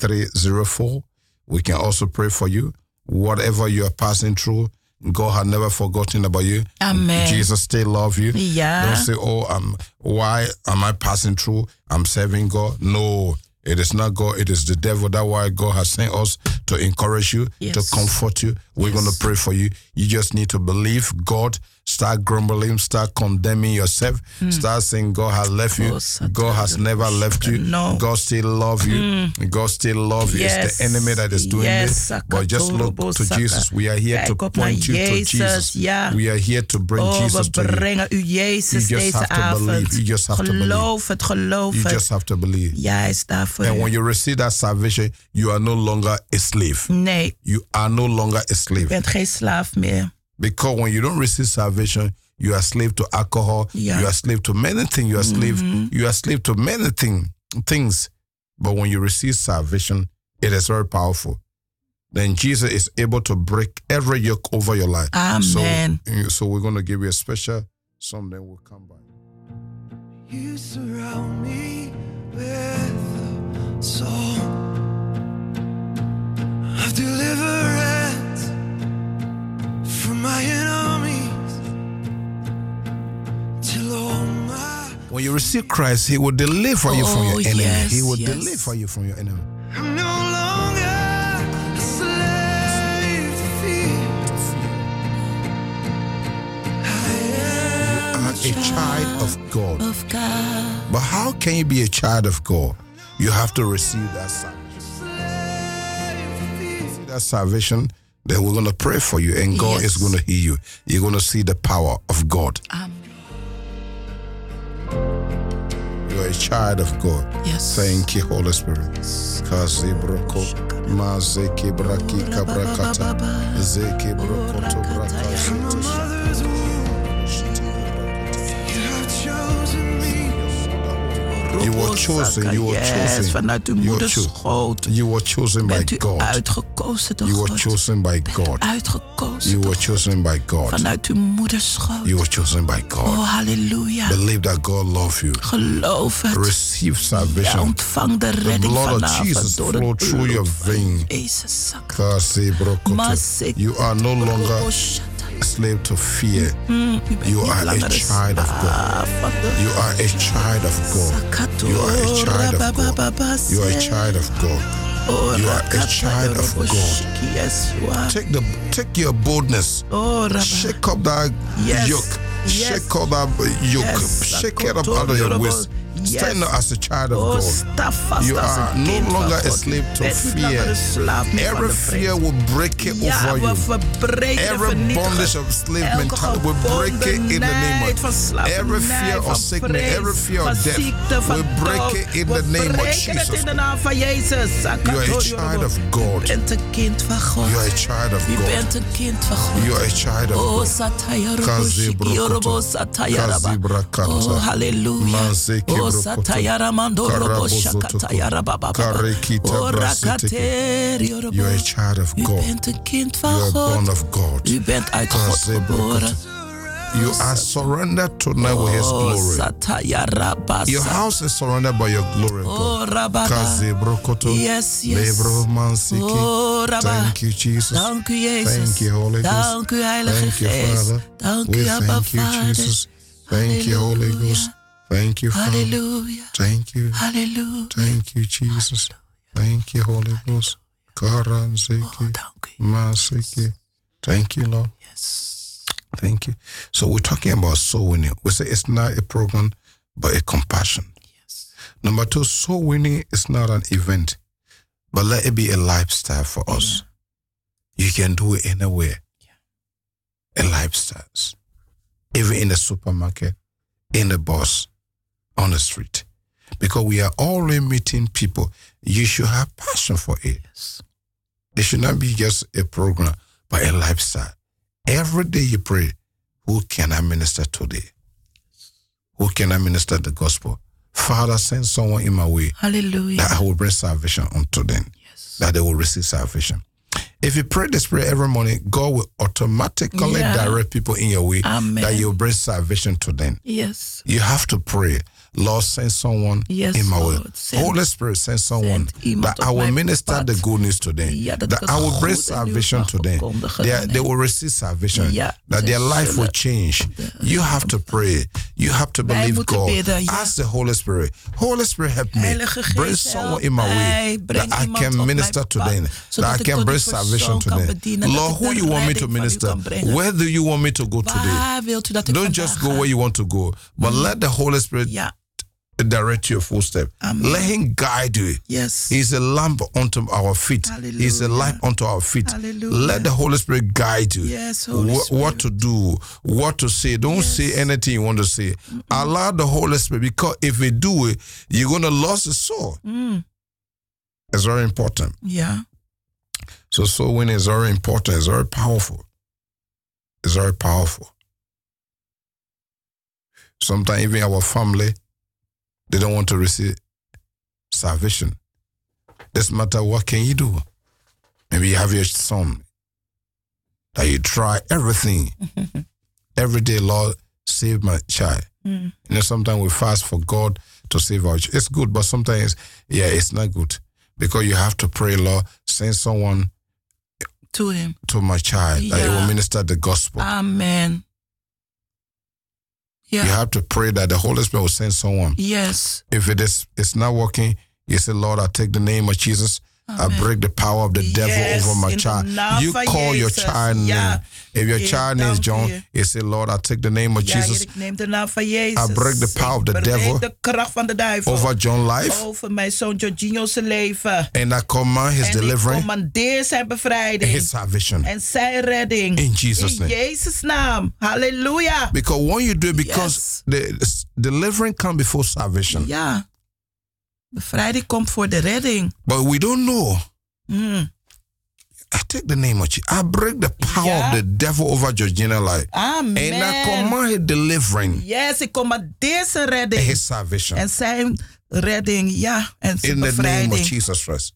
4304. We can also pray for you. Whatever you are passing through, God has never forgotten about you. Amen. Jesus still love you. Ja. Don't say, "Oh, I'm why am I passing through? I'm serving God." No, it is not God. It is the devil. That's why God has sent us to encourage you, to Yes. comfort you. We're going to pray for you. You just need to believe God. Start grumbling. Start condemning yourself. Hmm. Start saying, "God has left you. Oh, Satan, God has never left you. no. Hmm. God still love you. God still love you. It's the Yes. enemy that is doing Yes, this. But just look Sakatorobo to Saka. Jesus. We are here Kijk to op naar point you Jezus, to Jesus. ja. We are here to bring Oh, Jesus we to you. brengen u Jezus You just deze have to avond. believe. You just have to believe. geloof het, geloof You het. just have to believe. Ja, hij is daar voor And u. when you receive that salvation, you are no longer a slave. Nee, je You are no longer a slave. bent geen slaaf meer. Because when you don't receive salvation, you are slave to alcohol. Yeah. You are slave to many things. You are slave. Mm-hmm. You are slave to many thing, things. But when you receive salvation, it is very powerful. Then Jesus is able to break every yoke over your life. Amen. So, so we're going to give you a special song. Then we'll come back. You surround me with a song of deliverance from my enemies till all my When you receive Christ, He will deliver you from Oh, your enemy. yes, he will yes. deliver you from your enemy. I'm no longer a slave to fear. I am Are a child of God. Of God. But how can you be a child of God? You have to receive that salvation. a slave to fear. That salvation, then we're going to pray for you, and God Yes. is going to heal you. You're going to see the power of God. Amen. You're a child of God. Yes. Thank you, Holy Spirit. Kazi broko, ma zeki braki kabrakata, zeki broko to braka, zeti Mother's womb, shiti. you have chosen me. You were chosen, you were yes, chosen. Vanuit uw You were moeders chosen. schoot You were chosen by bent u God. uitgekozen door You God. were chosen by God. Uitgekozen You door were chosen by God. Vanuit uw moeders schoot. You were chosen by God. Oh, halleluja. Believe that God loves you. Geloof het. Receive Ja, salvation. ontvang de The redding blood of vanavond Jesus door het flow through bloed your van vein. Jezus zak. Kasi brokoto. Masik You are no longer Roboshata. slave to fear. You niet are a langer de child of God. slaaf van de You are a child of God. You are a child of God. You are a child of Oh, God. You are a child of God. Yes, you are. Take the take your boldness. Oh, Rabba. Shake up that Yes. yoke. Yes. Shake up that yoke. Yes. Shake it up out of your waist. Yes. Stand up as a child of Oh, God. sta vast You als are een no kind van longer a God. slave to Wees niet langer fear. een slaaf meer van Every de vrees. fear will break it ja, over you. we verbreken de Every vernietigen. bondage of slave Elke mentality, we break it in the name gebondenheid of van slavernij, every fear van of sickness, vrees, every fear van of death. ziekte, van we break dood. it in the We name of breken het Jesus. in de naam van Jezus. You are a child of Je God. bent een kind van God. You are a child of Je bent God. een kind van God. You are a child of Oh, God. Sataya Robo Kazebrokoto. Shiki Robo Sataya Raba. Kazebrakata. Oh, hallelujah. Mazeke Oh, brokoto. Sataya Ramando Robo Karabozotoko. Shakataya Raba Baba. Karekita Oh, brasiteke. Rakateri Robo. You are a child of U God. bent een kind You van are born God. of God. U bent uit God geboren. Kazebrokoto. You are surrendered tonight with His Oh, glory. Sataya Rabba. Your house is surrendered by your glory, Oh, God. Rabba. Kazebrokoto. Yes, yes. Lebromansiki. Oh, Rabba. Thank you, Jesus. Dank u, Jezus. Thank you, Holy Ghost. Dank u, Heilige Thank you, Geest. Father. Dank we u, Abba, thank you, Vader. Jesus. Thank you, Holy Hallelujah. Ghost. Thank you, Father. Hallelujah. Thank you. Hallelujah. Thank you, Jesus. Thank you, Holy Ghost. Oh, Karanziki, dank u. Masiki. Thank you, Lord. Yes. Thank you. So we're talking about soul winning. We say it's not a program, but a compassion. Yes. Number two, soul winning is not an event, but let it be a lifestyle for us. You can do it anywhere. A lifestyle. Even in the supermarket, in the bus, on the street. Because we are already meeting people. You should have passion for it. Yes. It should not be just a program, but a lifestyle. Every day you pray, who can I minister today? Who can I minister the gospel? Father, send someone in my way Hallelujah. that I will bring salvation unto them, that they will receive salvation. If you pray this prayer every morning, God will automatically Yeah. direct people in your way Amen. that you will bring salvation to them. Yes. You have to pray. Lord, send someone Yes, in my way. Lord, send- Holy Spirit, send someone send iemand that op I will mijn minister pad. the good news to them. Ja, dat that het I will bring goede salvation nieuws to mag them. verkondigen They, are- aan they hen. will receive salvation. Ja, that their ze life will zullen- change. You have to pray. You have to Wij believe moeten God. bidden, ja. Ask the Holy Spirit. Holy Spirit, help me. Heilige Bring Geest, someone help in my mij. way Breng that I iemand can op minister mijn to pad, them. zodat That I ik tot can die bring salvation persoon to kan them. bedienen, dat Lord, ik who de you want me redding to van u minister? kan brengen. Where do you want me to go today? Waar wilt u dat ik Don't vandaag just go ga? where you want to go, but Mm-hmm. let the Holy Spirit Ja. direct your footstep. Amen. Let Him guide you. Yes. He's a lamp unto our feet. He's a light unto our feet. Hallelujah. Let the Holy Spirit guide you. Yes, Holy Wh- What to do, what to say. Don't say anything you want to say. Allow the Holy Spirit because if we do it, you're going to lose your soul. Mm. It's very important. Ja. So soul winning is very important. It's very powerful. It's very powerful. Sometimes even our family, they don't want to receive salvation. Doesn't matter what can you do. Maybe you have your son that you try everything. Every day, Lord, save my child. You know, sometimes we fast for God to save our children. It's good, but sometimes, yeah, it's not good because you have to pray, Lord, send someone To him. to my child that it will Yeah. Ah, minister the gospel. Amen. You Ja. have to pray that the Holy Spirit will send someone. Yes. If it is it's not working, you say, Lord, I take the name of Jesus. I break the power of the Yes, devil over my in the child. name You of call your Jezus. child Ja. name. If your Heer, child name is dank John, u. you say, Lord, I take the name of Ja, Heer, Jesus ik neem de naam van Jezus. I break the power of the Ik breek devil de kracht van de duivel over John's life, over mijn zoon Jorginho's leven. and I command his en ik deliverance commandeer zijn and bevrijding his salvation. en zijn redding. In Jesus' In name. Jezus' naam. Halleluja. Because when you do it, because the s- deliverance comes before salvation. Ja. Bevrijding komt voor de redding. But we don't know. Mm. I take the name of Jesus. I break the power Yeah. of the devil over Georgina life. Amen. And I command his deliverance Yes, ik commandeer zijn redding. and his salvation. en zijn redding, ja. En zijn in the name of bevrijding. Jesus Christ.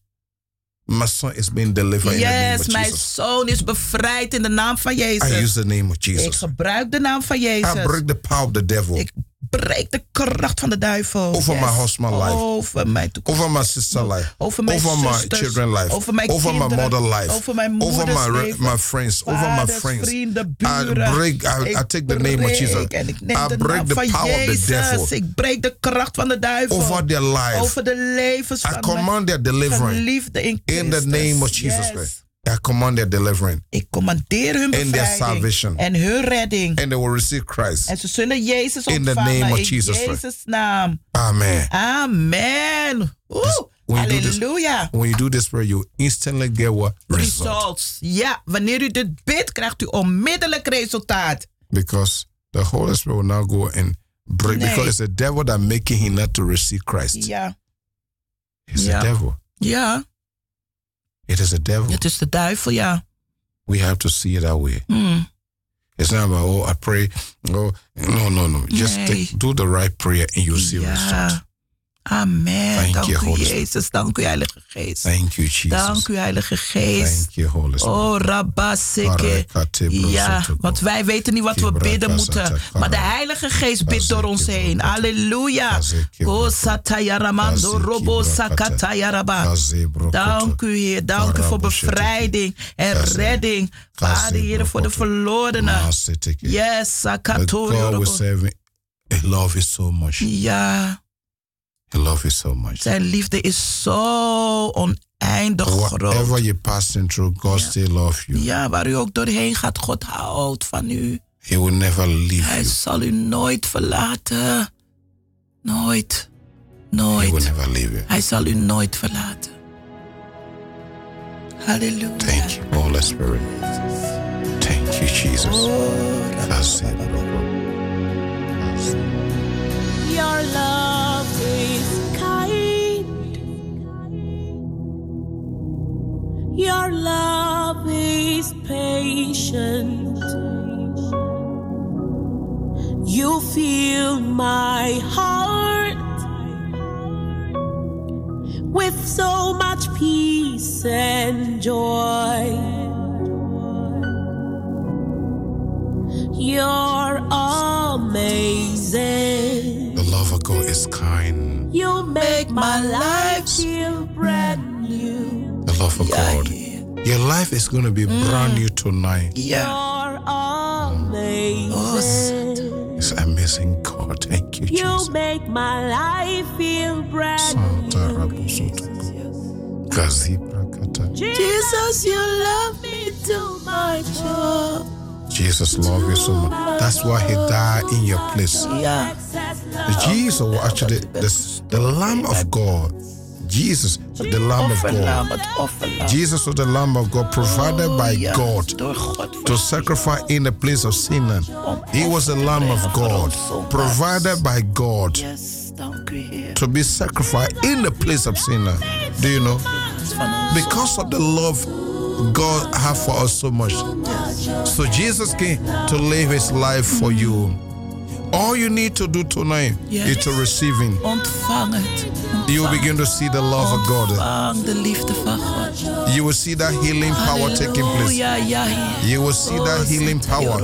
My son is being delivered Yes, in the name of mijn Jesus. zoon is bevrijd in de naam van I Jezus. use the name of Ik Jesus. gebruik de naam van Jezus. I break the power of the devil. Ik verbreek de kracht van de duivel. Over my husband life. Over mijn toekomst. over my sister life, Over mijn zusters, my children life, over mijn my kinderen, mother life, over mijn over my, moeders re- leven, my friends, over my vaders, friends. vrienden, I buren. break, I, Ik I take the name of Jesus. breek En ik neem I de break naam the van power of Jezus. the devil Ik breek de kracht van de duivel. over their life. over de levens I van command their mijn deliverance geliefden in Christus. in the name of Jesus Yes. Christ. I command their deliverance Ik commandeer hun their bevrijding salvation. en hun redding. and they will receive Christ. En ze zullen Jezus In the ontvangen name of in Jesus Christ. Jezus' naam. Amen. Amen. Oeh, This- when you do this- halleluja. When you do this prayer, you instantly get what? Result. Results. Ja, wanneer u dit bidt, krijgt u onmiddellijk resultaat. Because the Holy Spirit will now go and break. Nee. Because it's the devil that making him not to receive Christ. Ja. It's Yeah. the devil. Ja, It is the devil. het is de duivel, ja. We have to see it that way. Hmm. It's not about, oh, I pray. Oh, no, no, no. Just Nee. take, do the right prayer and you'll see result. Ja. Amen. Thank Dank you, u, Holy Spirit. Jezus. Dank u, Heilige Geest. Thank you, Jesus. Dank u, Heilige Geest. Thank you, Holy Spirit. Oh, rabaseke. Barakate brozo Ja, toko. want wij weten niet wat we Kibra bidden kazata moeten. kara. Maar de Heilige Geest bidt door ons Kazeke heen. brakata. Halleluja. O Kazeke brakata. satayaramando Kazeke robo brakata. sakatayaraba. Kaze brokoto. Dank u, Heer. Dank u voor Karabo sheteke. bevrijding en Kazeke. redding. Vader, Kazeke Heer, voor de brakata. verlorenen. Maseteke. Yes, The sakatoyo God we robo. serve, He loves you so much. He Ja, loves you so much. zijn liefde is zo oneindig Whatever groot. you're passing through, God still loves you. Ja, waar u ook doorheen gaat, God houdt van u. He will never leave Hij you. zal u nooit verlaten. Nooit. He will Nooit. never leave you. Hij zal u nooit verlaten. Halleluja. Thank you, Holy Spirit. Thank you, Jesus. Kaze brokoto. Kaze. Your love is kind. Your love is patient. You fill my heart with so much peace and joy. You're amazing. The love of God is kind. You make my my life life feel brand new. The love of God. Your life is going to be brand new tonight. Ja. You're amazing. Oh, It's amazing, God. Thank you, You Jesus. make my life feel brand Santa new. Rabosoto. Gazibra Kata. Jesus, you love me too much. oh. Jesus loves you so much. That's why he died in your place. Ja. Excess The love. Jesus was actually the, the Lamb of God. Jesus, the Lamb of Offerlam, God. het offerlam. Jesus was the Lamb of God provided by Ja, God Oh, Door God. to sacrifice in the place of sin. He was the Lamb of God provided by God Yes, dank u Heer. to be sacrificed in the place of sin. Do you know? Because of the love God have for us so much. So Jesus came to live his life for you. All you need to do tonight Yes. is to receive him. Ontvang het. You will begin to see the love of Oh, God. Ontvang de liefde van God. You will see that healing power taking place. Halleluja, ja Heer. You will see that healing power.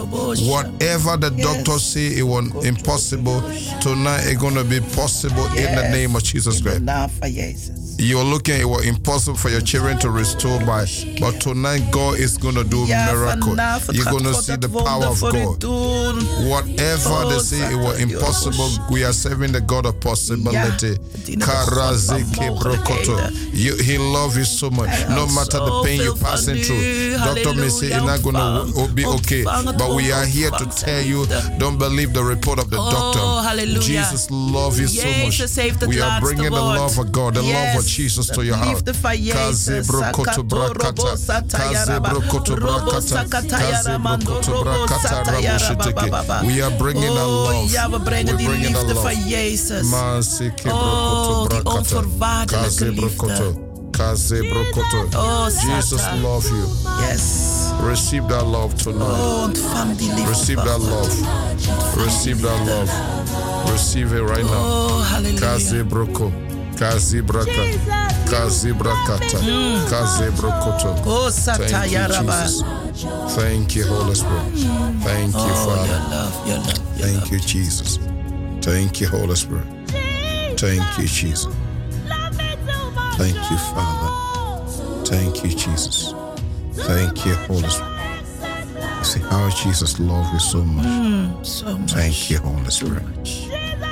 Whatever the doctors say it was impossible, tonight it's going to be possible in the name of Jesus Christ. In de naam van Jezus. You're looking, it was impossible for your children to restore by, but tonight God is going to do Ja, Oh, miracle. vanavond You're gaat going to God see dat the wonder power of voor u God. doen. Whatever they say it was impossible, we are serving the God of possibility. Ja, dienen de Karazeke God van brokoto. mogelijkheden. You, he loves you so much. Hij No houdt matter the pain zoveel you're van passing u. through, doctor may say it's not going Halleluja, to be okay, ontvang het but Oh, we wonder, are here to ontvang zijn tell you, liefde. don't believe the report of the Oh, doctor. halleluja. Jesus loves you so much. Jezus heeft het We are laatste bringing the woord. love of God, the love Yes, of Jesus to de your heart. liefde van Jezus. Kazebrokoto Sakato, robo, brakata. sataya, raba. Kazebrokoto Robo, brakata. sakataya, ramando, Kazebrokoto robo, brakata, sataya, raba, rabo ba, sheteke. ba, ba. We are bringing the Oh, love. Ja, we brengen We're die bringing the liefde love. van Jezus. Maseke Oh, brokoto die brakata. onvoorwaardelijke Kazebrokoto. Kazebrokoto. Oh, Jesus Satan. love you. Yes. Receive that love tonight. Oh, ontvang die liefde. Receive van that God. love. Receive that love. Receive it right now. Oh, halleluja. Kazebroko. Kazibraka. Kazibrakata. Kazebrokoto. Oh, Thank you, sataya, raba. Jesus. Thank you, Holy Spirit. Thank you, Oh, your Father. love, your love, your love. Thank you, Jesus. Thank you, Holy Spirit. Thank you, Jesus. Thank you, Oh, Father. Thank you, Jesus. Thank you, Holy Spirit. You see how Jesus loved you so much. So much. Thank you, Holy Spirit.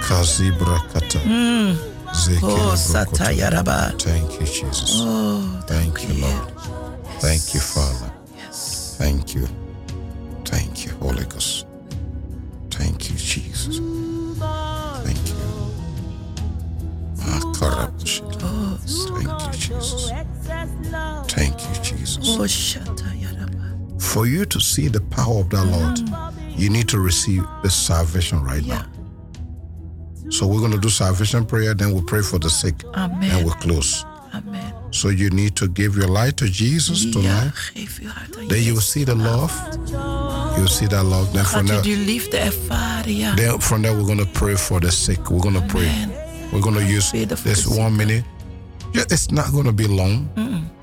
Kazi brakata. Zeke Oh, brakota. Satayaraba. Thank you, Jesus. Oh, thank you, Lord. Thank you, Father. Yes. Thank you. Thank you, Holy Ghost. Thank you, Jesus. Thank you. Makarabushita. Oh, Thank you, Jesus. Oh, Thank you, Jesus. Oh, Shatayaraba. For you to see the power of the Lord, you need to receive the salvation right Yeah. now. So we're going to do salvation prayer, then we'll pray for the sick, and Amen. we'll close. Amen. So you need to give your life to Jesus Ja, tonight. geef uw hart aan Then you will Jezus. see the love. You'll see that love. Then from Laat u there, die liefde ervaren, ja. then from there we're gonna pray for the sick. We're gonna pray. We're gonna use Pray the for this the sick. one minute. Yeah, It's not gonna be long.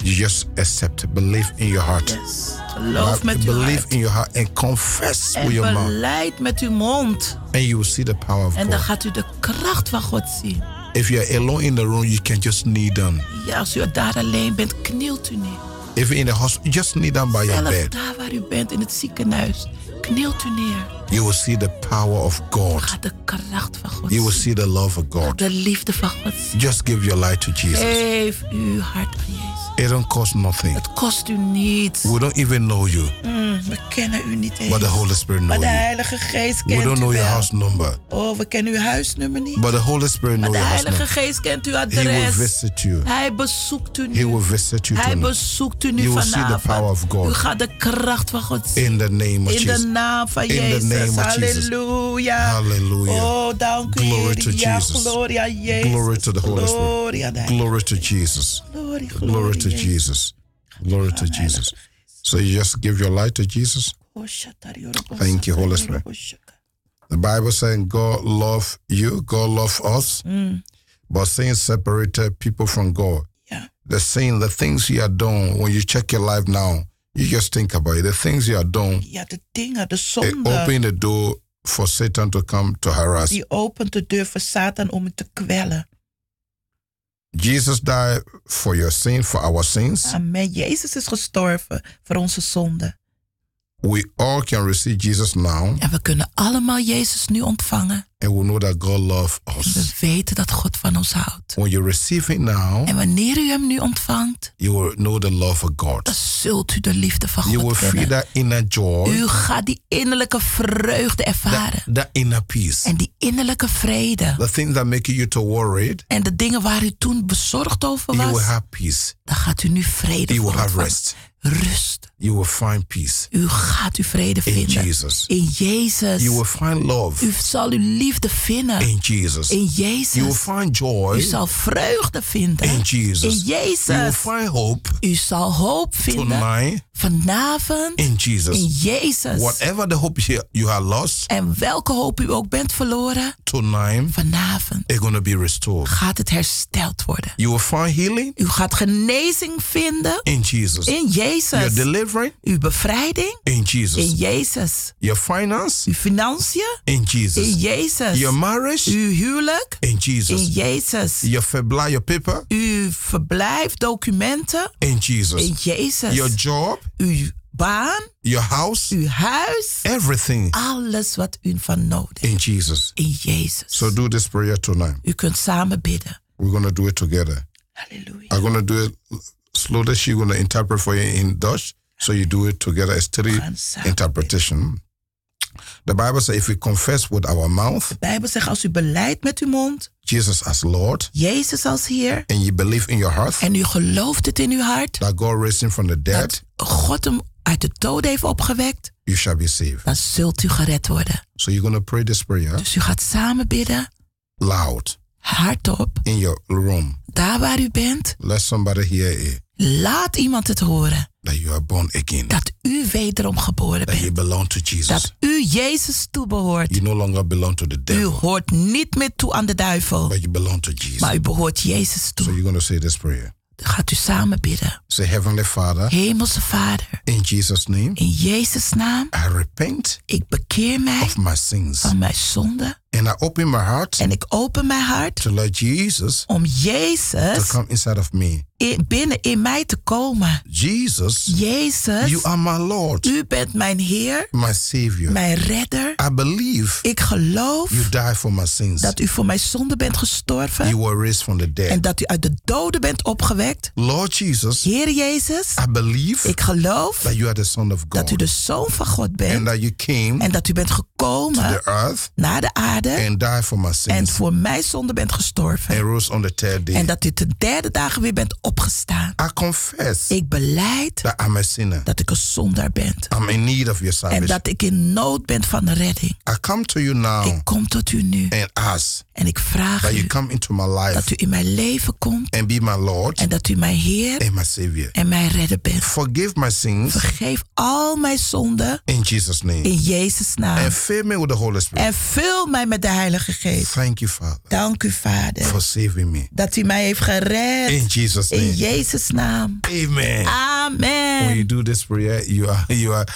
You just accept, it. believe in your heart. Yes. Geloof Have- met uw believe hart. in your heart and confess En with your mouth, beleid met uw mond. and you will see the power of En dan God. gaat u de kracht van God zien. If you're alone in the room, you can just kneel down. Ja, als u daar alleen bent, knielt u neer. If you're in the hospital, just kneel down by your Zelfs bed. daar waar u bent, in het ziekenhuis, knielt u neer. You will see the power of God. Gaat de kracht van God You will zien. see the love of God. De liefde van God zien. Just give your life to Jesus. Geef uw hart aan Jezus. It don't cost nothing. Het kost u niets. We don't even know you, Mm, we kennen u niet eens. but the Holy Spirit Maar knows de you. Heilige Geest We kent don't u know your wel. house number, Oh, we kennen uw huisnummer niet. but the Holy Spirit Maar de knows your house Heilige number. Geest kent uw He will adres. visit you. Hij bezoekt u He will nu. visit you Hij tonight bezoekt u nu You will see the vanavond. power of God. U gaat de kracht van God zien. in the name of In de Jesus. naam van the name Jezus. of Jesus. Halleluja. Hallelujah. Oh, dank u, Glory to Heer. Ja, Jesus. glorie aan Jezus. Glory to the Holy Glorie aan de Spirit. Heilige- Glory to Jesus. Glorie, Glory glorie, to Jezus. Jesus. Glory to Jesus. So you just give your life to Jesus. Oh, shatariorobo, Thank you, Holy Spirit. shatariorobo, shaka. The Bible saying God love you, God love us, but sin separated people from God. Ja. the sin, the things you are doing, when you check your life now, you just think about it. The things you are doing, ja, de dingen, de it zonde. open the door for Satan to come to harass. Die opent de deur voor Satan om u te kwellen. Jesus died for your sin, for our sins. Amen. Jezus is gestorven voor onze zonden. We all can receive Jesus now, En we kunnen allemaal Jezus nu ontvangen. and we know that God loves En we us. weten dat God van ons houdt. When you receive Him now, En wanneer u hem nu ontvangt, you will know the love of God. dan zult u de liefde van You will God feel kennen. that inner joy, U gaat die innerlijke vreugde ervaren. that inner peace, En die innerlijke vrede. the things that make you to worried. En de dingen waar u toen bezorgd over You will was, have peace. dan gaat u nu vrede You will voor have ontvangen. rest. Rust. You will find peace U gaat uw vrede in vinden. Jesus. In Jezus. You will find love U zal uw liefde vinden. in Jesus. In You will Jezus. find joy U zal vreugde vinden. in In Jesus. You will Jezus. find hope U zal hoop vinden. tonight Vanavond. in In Jesus. Jezus. Whatever the hope you- you have lost En welke hoop u ook bent verloren. tonight, Vanavond it's going to be restored. gaat het hersteld worden. You will find healing U gaat genezing vinden. in Jesus. In Your Jezus. deliverance Uw bevrijding. in In Jesus. Jezus. Your finance Uw financiën. in In Jesus. Your Jezus. marriage Uw huwelijk. in In Jesus. Jezus. Your febrile, your paper Uw verblijf, documenten. in In Jesus. Your Jezus. job, Uw baan, your house, uw huis. everything Alles wat u van nodig heeft. in Jesus. In Jezus. So do this prayer tonight. U kunt samen bidden. We're going to do it together. Halleluja. I'm gonna do it slowly. She's gonna interpret for you in Dutch. So you do it together. It's three Gansaam. interpretation. The Bible says if we confess with our mouth De Bijbel zegt als u beleidt met uw mond, Jesus as Lord Jezus als Heer, and you believe in your heart en u gelooft het in uw hart, that God raised him from the dead, dat God hem uit de dood heeft opgewekt, you shall be saved. dan zult u gered worden. So you're gonna pray this prayer Dus u gaat samen bidden, loud hardop, in your room. daar waar u bent. Let somebody hear it Laat iemand het horen that you are born again, dat u wederom geboren that bent. you belong to Jesus. dat u Jezus toebehoort. You no longer belong to the U devil, hoort niet meer toe aan de duivel, but you belong to Jesus. maar u behoort Jezus So toe. you're gonna say this prayer. Dan gaat u samen bidden. Say, Heavenly Father, Hemelse Vader, in Jesus' name. in Jezus' naam, I repent ik bekeer mij of my sins. van mijn zonde. And I open my heart En ik open mijn hart to let Jesus om to Jezus come inside of me. in- binnen in mij te komen. Jesus, you Jezus, are my Lord, u bent mijn Heer, my Savior. mijn redder. I believe Ik geloof you died for my sins. dat u voor mijn zonde bent gestorven You were raised from the en dead. dat u uit de doden bent opgewekt. Lord Jesus, Heer Jezus, I believe ik geloof that you are the Son of Ah. God dat u de zoon van God and bent that you came en to dat u bent the gekomen earth naar de aarde and died for my en sins voor mijn zonde bent gestorven. and rose on the third day. En dat u ten derde dagen weer bent opgestaan. I confess Ik beleid that I'm a sinner. dat ik een zondaar ben. I'm in need of your En salvation. dat ik in nood ben van redding. I come to you now Ik kom tot u nu and ask en ik vraag that you u come into my life dat u in mijn leven komt and be my Lord en dat u mijn Heer and my Savior. en mijn redder bent. Forgive my sins Vergeef al mijn zonden in Jesus' name in Jezus' naam. and fill me with the Holy Spirit. En vul mij met de Heilige Geest. Thank you, Father, Dank u, Vader, for saving me. dat u mij heeft In gered. Jesus' In name. Jezus' naam. Amen. When you Amen. do this prayer, you are you are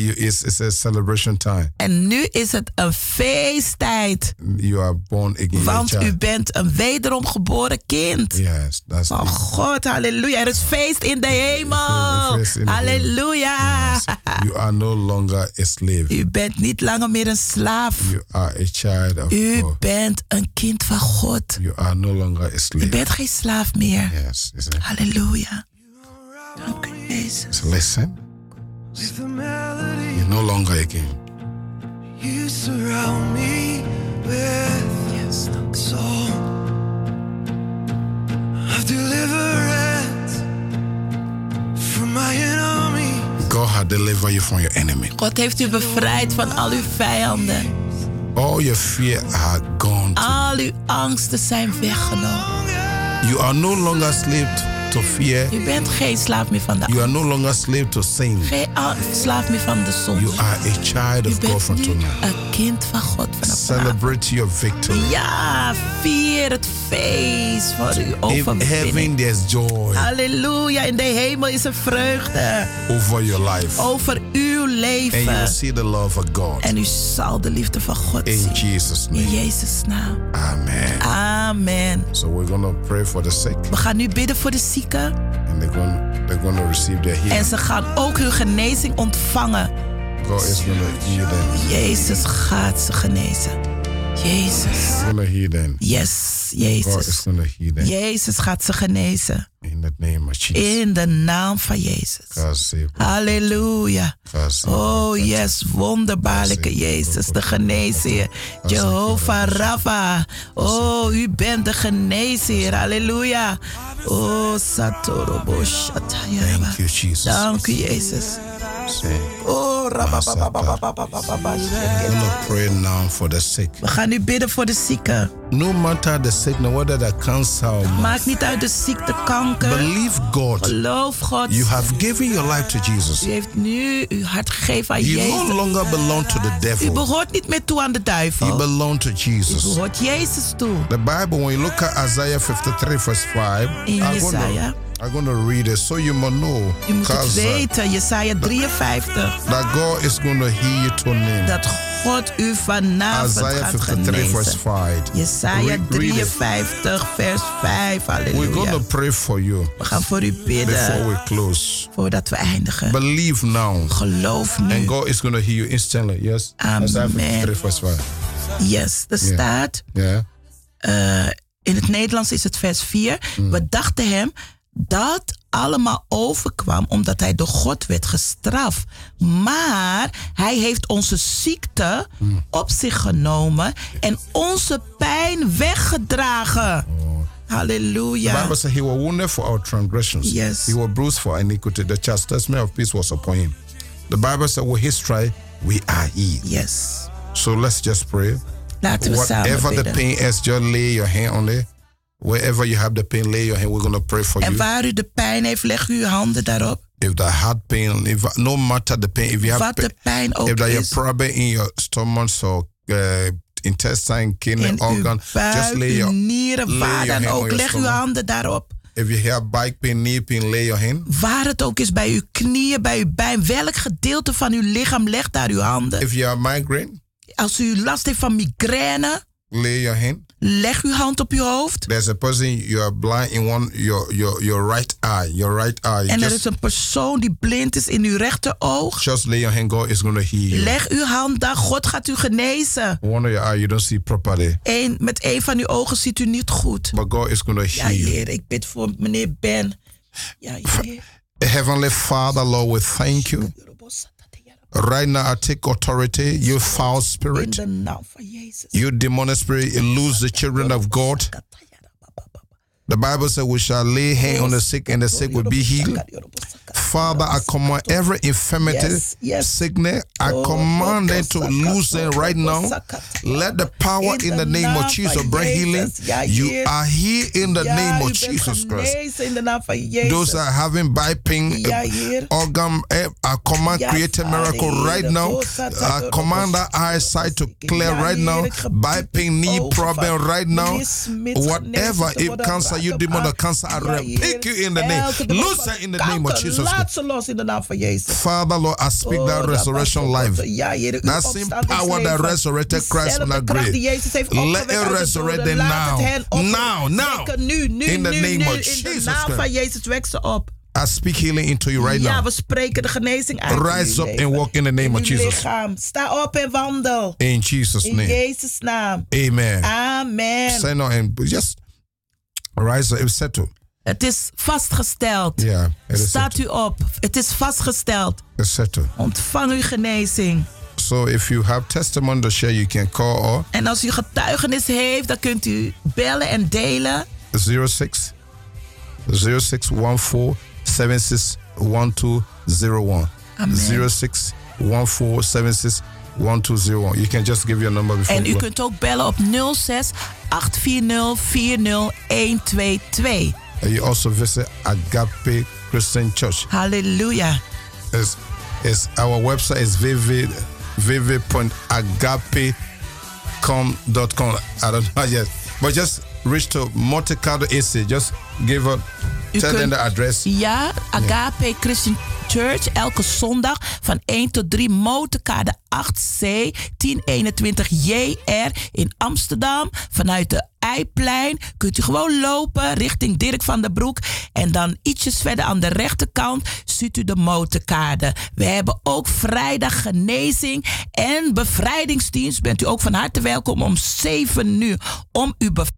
you, it's, it's a celebration time. En nu is het een feesttijd, You are born again. you're a want u child. bent een wederom geboren kind. Yes, that's Oh God, halleluja. Er is feest in de hemel. Er is feest in de hemel. Halleluja. it. You are no longer a slave. U bent niet langer meer een slaaf. You are a child of U God. bent een kind van God. You are no longer a U slave. bent geen slaaf meer. Yes. it's a- Halleluja. Dank u, Jezus. So listen. With a melody You're no longer a king. You surround me with yes, song of deliverance from my enemy. God has delivered you from your enemy. God heeft u bevrijd van al uw vijanden. All your fear are gone. Al uw angsten zijn weggenomen. You are no longer slave to fear. U bent geen slaaf meer van de You angst. are no longer slave to sin. Geen a- slaaf meer van de You zon. are a child U of God bent from nu tonight. een kind van God vanaf vandaag. Celebrate your victory. Ja, vier het feest voor uw In heaven, overwinning. there's joy Halleluja, in de hemel is er vreugde over your life. over uw And you will leven. see the love of God. En u zal de liefde van God In zien. Jesus' In name. Jezus' naam. Amen. Amen. So we're going to pray for the sick. We gaan nu bidden voor de zieken. And they're going, they're going to receive their En healing. ze gaan ook hun genezing ontvangen. God is going to heal them. Jezus gaat ze genezen. Jezus. going to heal them. Yes, God is Jezus. going to heal them. Jezus gaat ze genezen. In the name of Jesus. In de naam van Jezus. God save them. Halleluja. God save them. Oh yes, wonderbaarlijke Jezus, de geneesheer. Jehovah Rapha. Oh, u bent de geneesheer. Halleluja. Oh, Satorobo Shatayaraba. Thank you, Jesus. Dank u, Jezus. Say, Oh, Masata. rabababababababa. I'm going to pray now for the sick. We gaan nu bidden voor de zieken. No matter the sickness, whether the cancer or not, Maakt niet uit de ziekte, kanker. believe God. Geloof God. You have given your life to Jesus. U heeft nu uw hart gegeven aan You no Jezus. longer belong to the U devil. behoort niet meer toe aan de You duivel. U belong to Jesus. behoort Jezus toe. The Bible, when you look at Isaiah 53, verse 5, In I'm Isaiah. gonna, I'm gonna read it so you must know Je moet het 'cause, uh, weten, Jesaja 53. that God is going to heal you tonight. Dat God u vanavond Isaiah gaat 53, verse genezen. 5. Jesaja Read- read it. 53, vers 5. We're going Halleluja. to pray for you We gaan voor u before bidden we close. voordat we eindigen. Believe now. Geloof And nu. God is going to heal you instantly. Yes. Isaiah Amen. 53, verse 5. Yes, er staat. Yeah. In het Nederlands is het vers 4. Mm. We dachten hem dat allemaal overkwam omdat hij door God werd gestraft. Maar hij heeft onze ziekte Mm. op zich genomen en onze pijn weggedragen. The Halleluja. Bible says he Oh. was wounded for our transgressions. Yes. He was bruised for our iniquity. The chastisement of peace was upon him. The Bible says, with his stripe, we are healed. Yes. So let's just pray. Laten we samen Whatever the bidden. pain is, just lay your hand on it. Wherever you have the pain, lay your hand. We're going to pray for En you. waar u de pijn heeft, leg uw handen daarop. If the heart pain, if no matter the pain, if you have Wat de pijn ook if there is. is problem in your stomach or uh, intestine, kidney, In uw organ, just buik, lay your uw nieren, lay waar your hand dan on ook. your Leg uw stomach. handen daarop. if you have back pain, knee pain, lay your hand. Waar het ook is, bij uw knieën, bij uw bijn, welk gedeelte van uw lichaam legt daar uw handen. If you have migraine, als u last heeft van migraine, Lay your hand. leg uw hand op uw hoofd. There's a person you are blind in one your your your right eye. Your right eye. En er Just, is een persoon die blind is in uw rechteroog. just lay your hand. God is gonna heal you. Leg uw hand daar. God gaat u genezen. One of your eye you don't see properly, Eén, met één van uw ogen ziet u niet goed. but God is gonna Ja, heal you. Heer, ik bid voor meneer Ben. Ja, Heer. Heavenly Father, Lord, we thank you. Right now, I take authority. You foul In spirit, de naam van Jezus. you demonic spirit, you lose the children of God. The Bible says we shall lay hand on the sick and the sick will be healed. Father, I command every infirmity, Yes, yes. sickness, I command them to loosen right now. Let the power in the name of Jesus bring healing. You are here in the Ja, name u of bent Jesus Christ. genezen in de naam van Jezus. Those that are having back pain, Ja, Heer. organ, eh, I command Ja, create a miracle Vader, right now. Heer. I command that eyesight to clear Ja, right now. Heer, ik gebied Back pain, knee ogen problem van right now. meneer Smit Whatever, genezen te if worden, cancer, raak you hem demon aan. of cancer, I Ja, Heer. rebuke you in the name. Elke demon Lose van her in the name of kanker, Jesus. Laat ze los in de naam van Jezus. Father, Lord, I speak Oh, that resurrection Rabba, life. Ja, Heer, uw That same opstandingsleven. power that resurrected Christ from Diezelfde that kracht grave. die Jezus heeft Let opgewekt it uit de doden, resurrect them laat het now. hen opwekken. Now, now. Wekken nu, nu, In the nu, name nu. of In de Jesus naam Christ. van Jezus, wek ze op. I speak healing into you right ja, now. we spreken de genezing uit. in Rise uw up leven. and walk in the name In of uw Jesus. lichaam. Sta op en wandel. In Jesus' In name. Jezus' naam. Amen. Amen. Say no and just rise up, settle. Het is vastgesteld. Yeah, it is Staat settled. u op. Het is vastgesteld. It's settled. Ontvang uw genezing. So if you have testimony to share, you can call En als u getuigenis heeft, dan kunt u bellen en delen. or 06 0614 761201. Amen. 0614 761201. You can just give your number before En you u go. kunt ook bellen op 06 840 40122. And you also visit Agape Christian Church. Halleluja. It's, it's our website is vivid vivid.agapecom.com. I don't know yet, but just reach to Monte Carlo AC. Just give up, You tell them can- the address. Ja, Agape Christian Church, elke zondag van 1 tot 3 Motorkade 8C 1021 JR in Amsterdam. Vanuit de Eiplein kunt u gewoon lopen richting Dirk van der Broek. En dan ietsjes verder aan de rechterkant ziet u de motorkade. We hebben ook vrijdag genezing en bevrijdingsdienst. Bent u ook van harte welkom om 7 uur om uw bevrijding.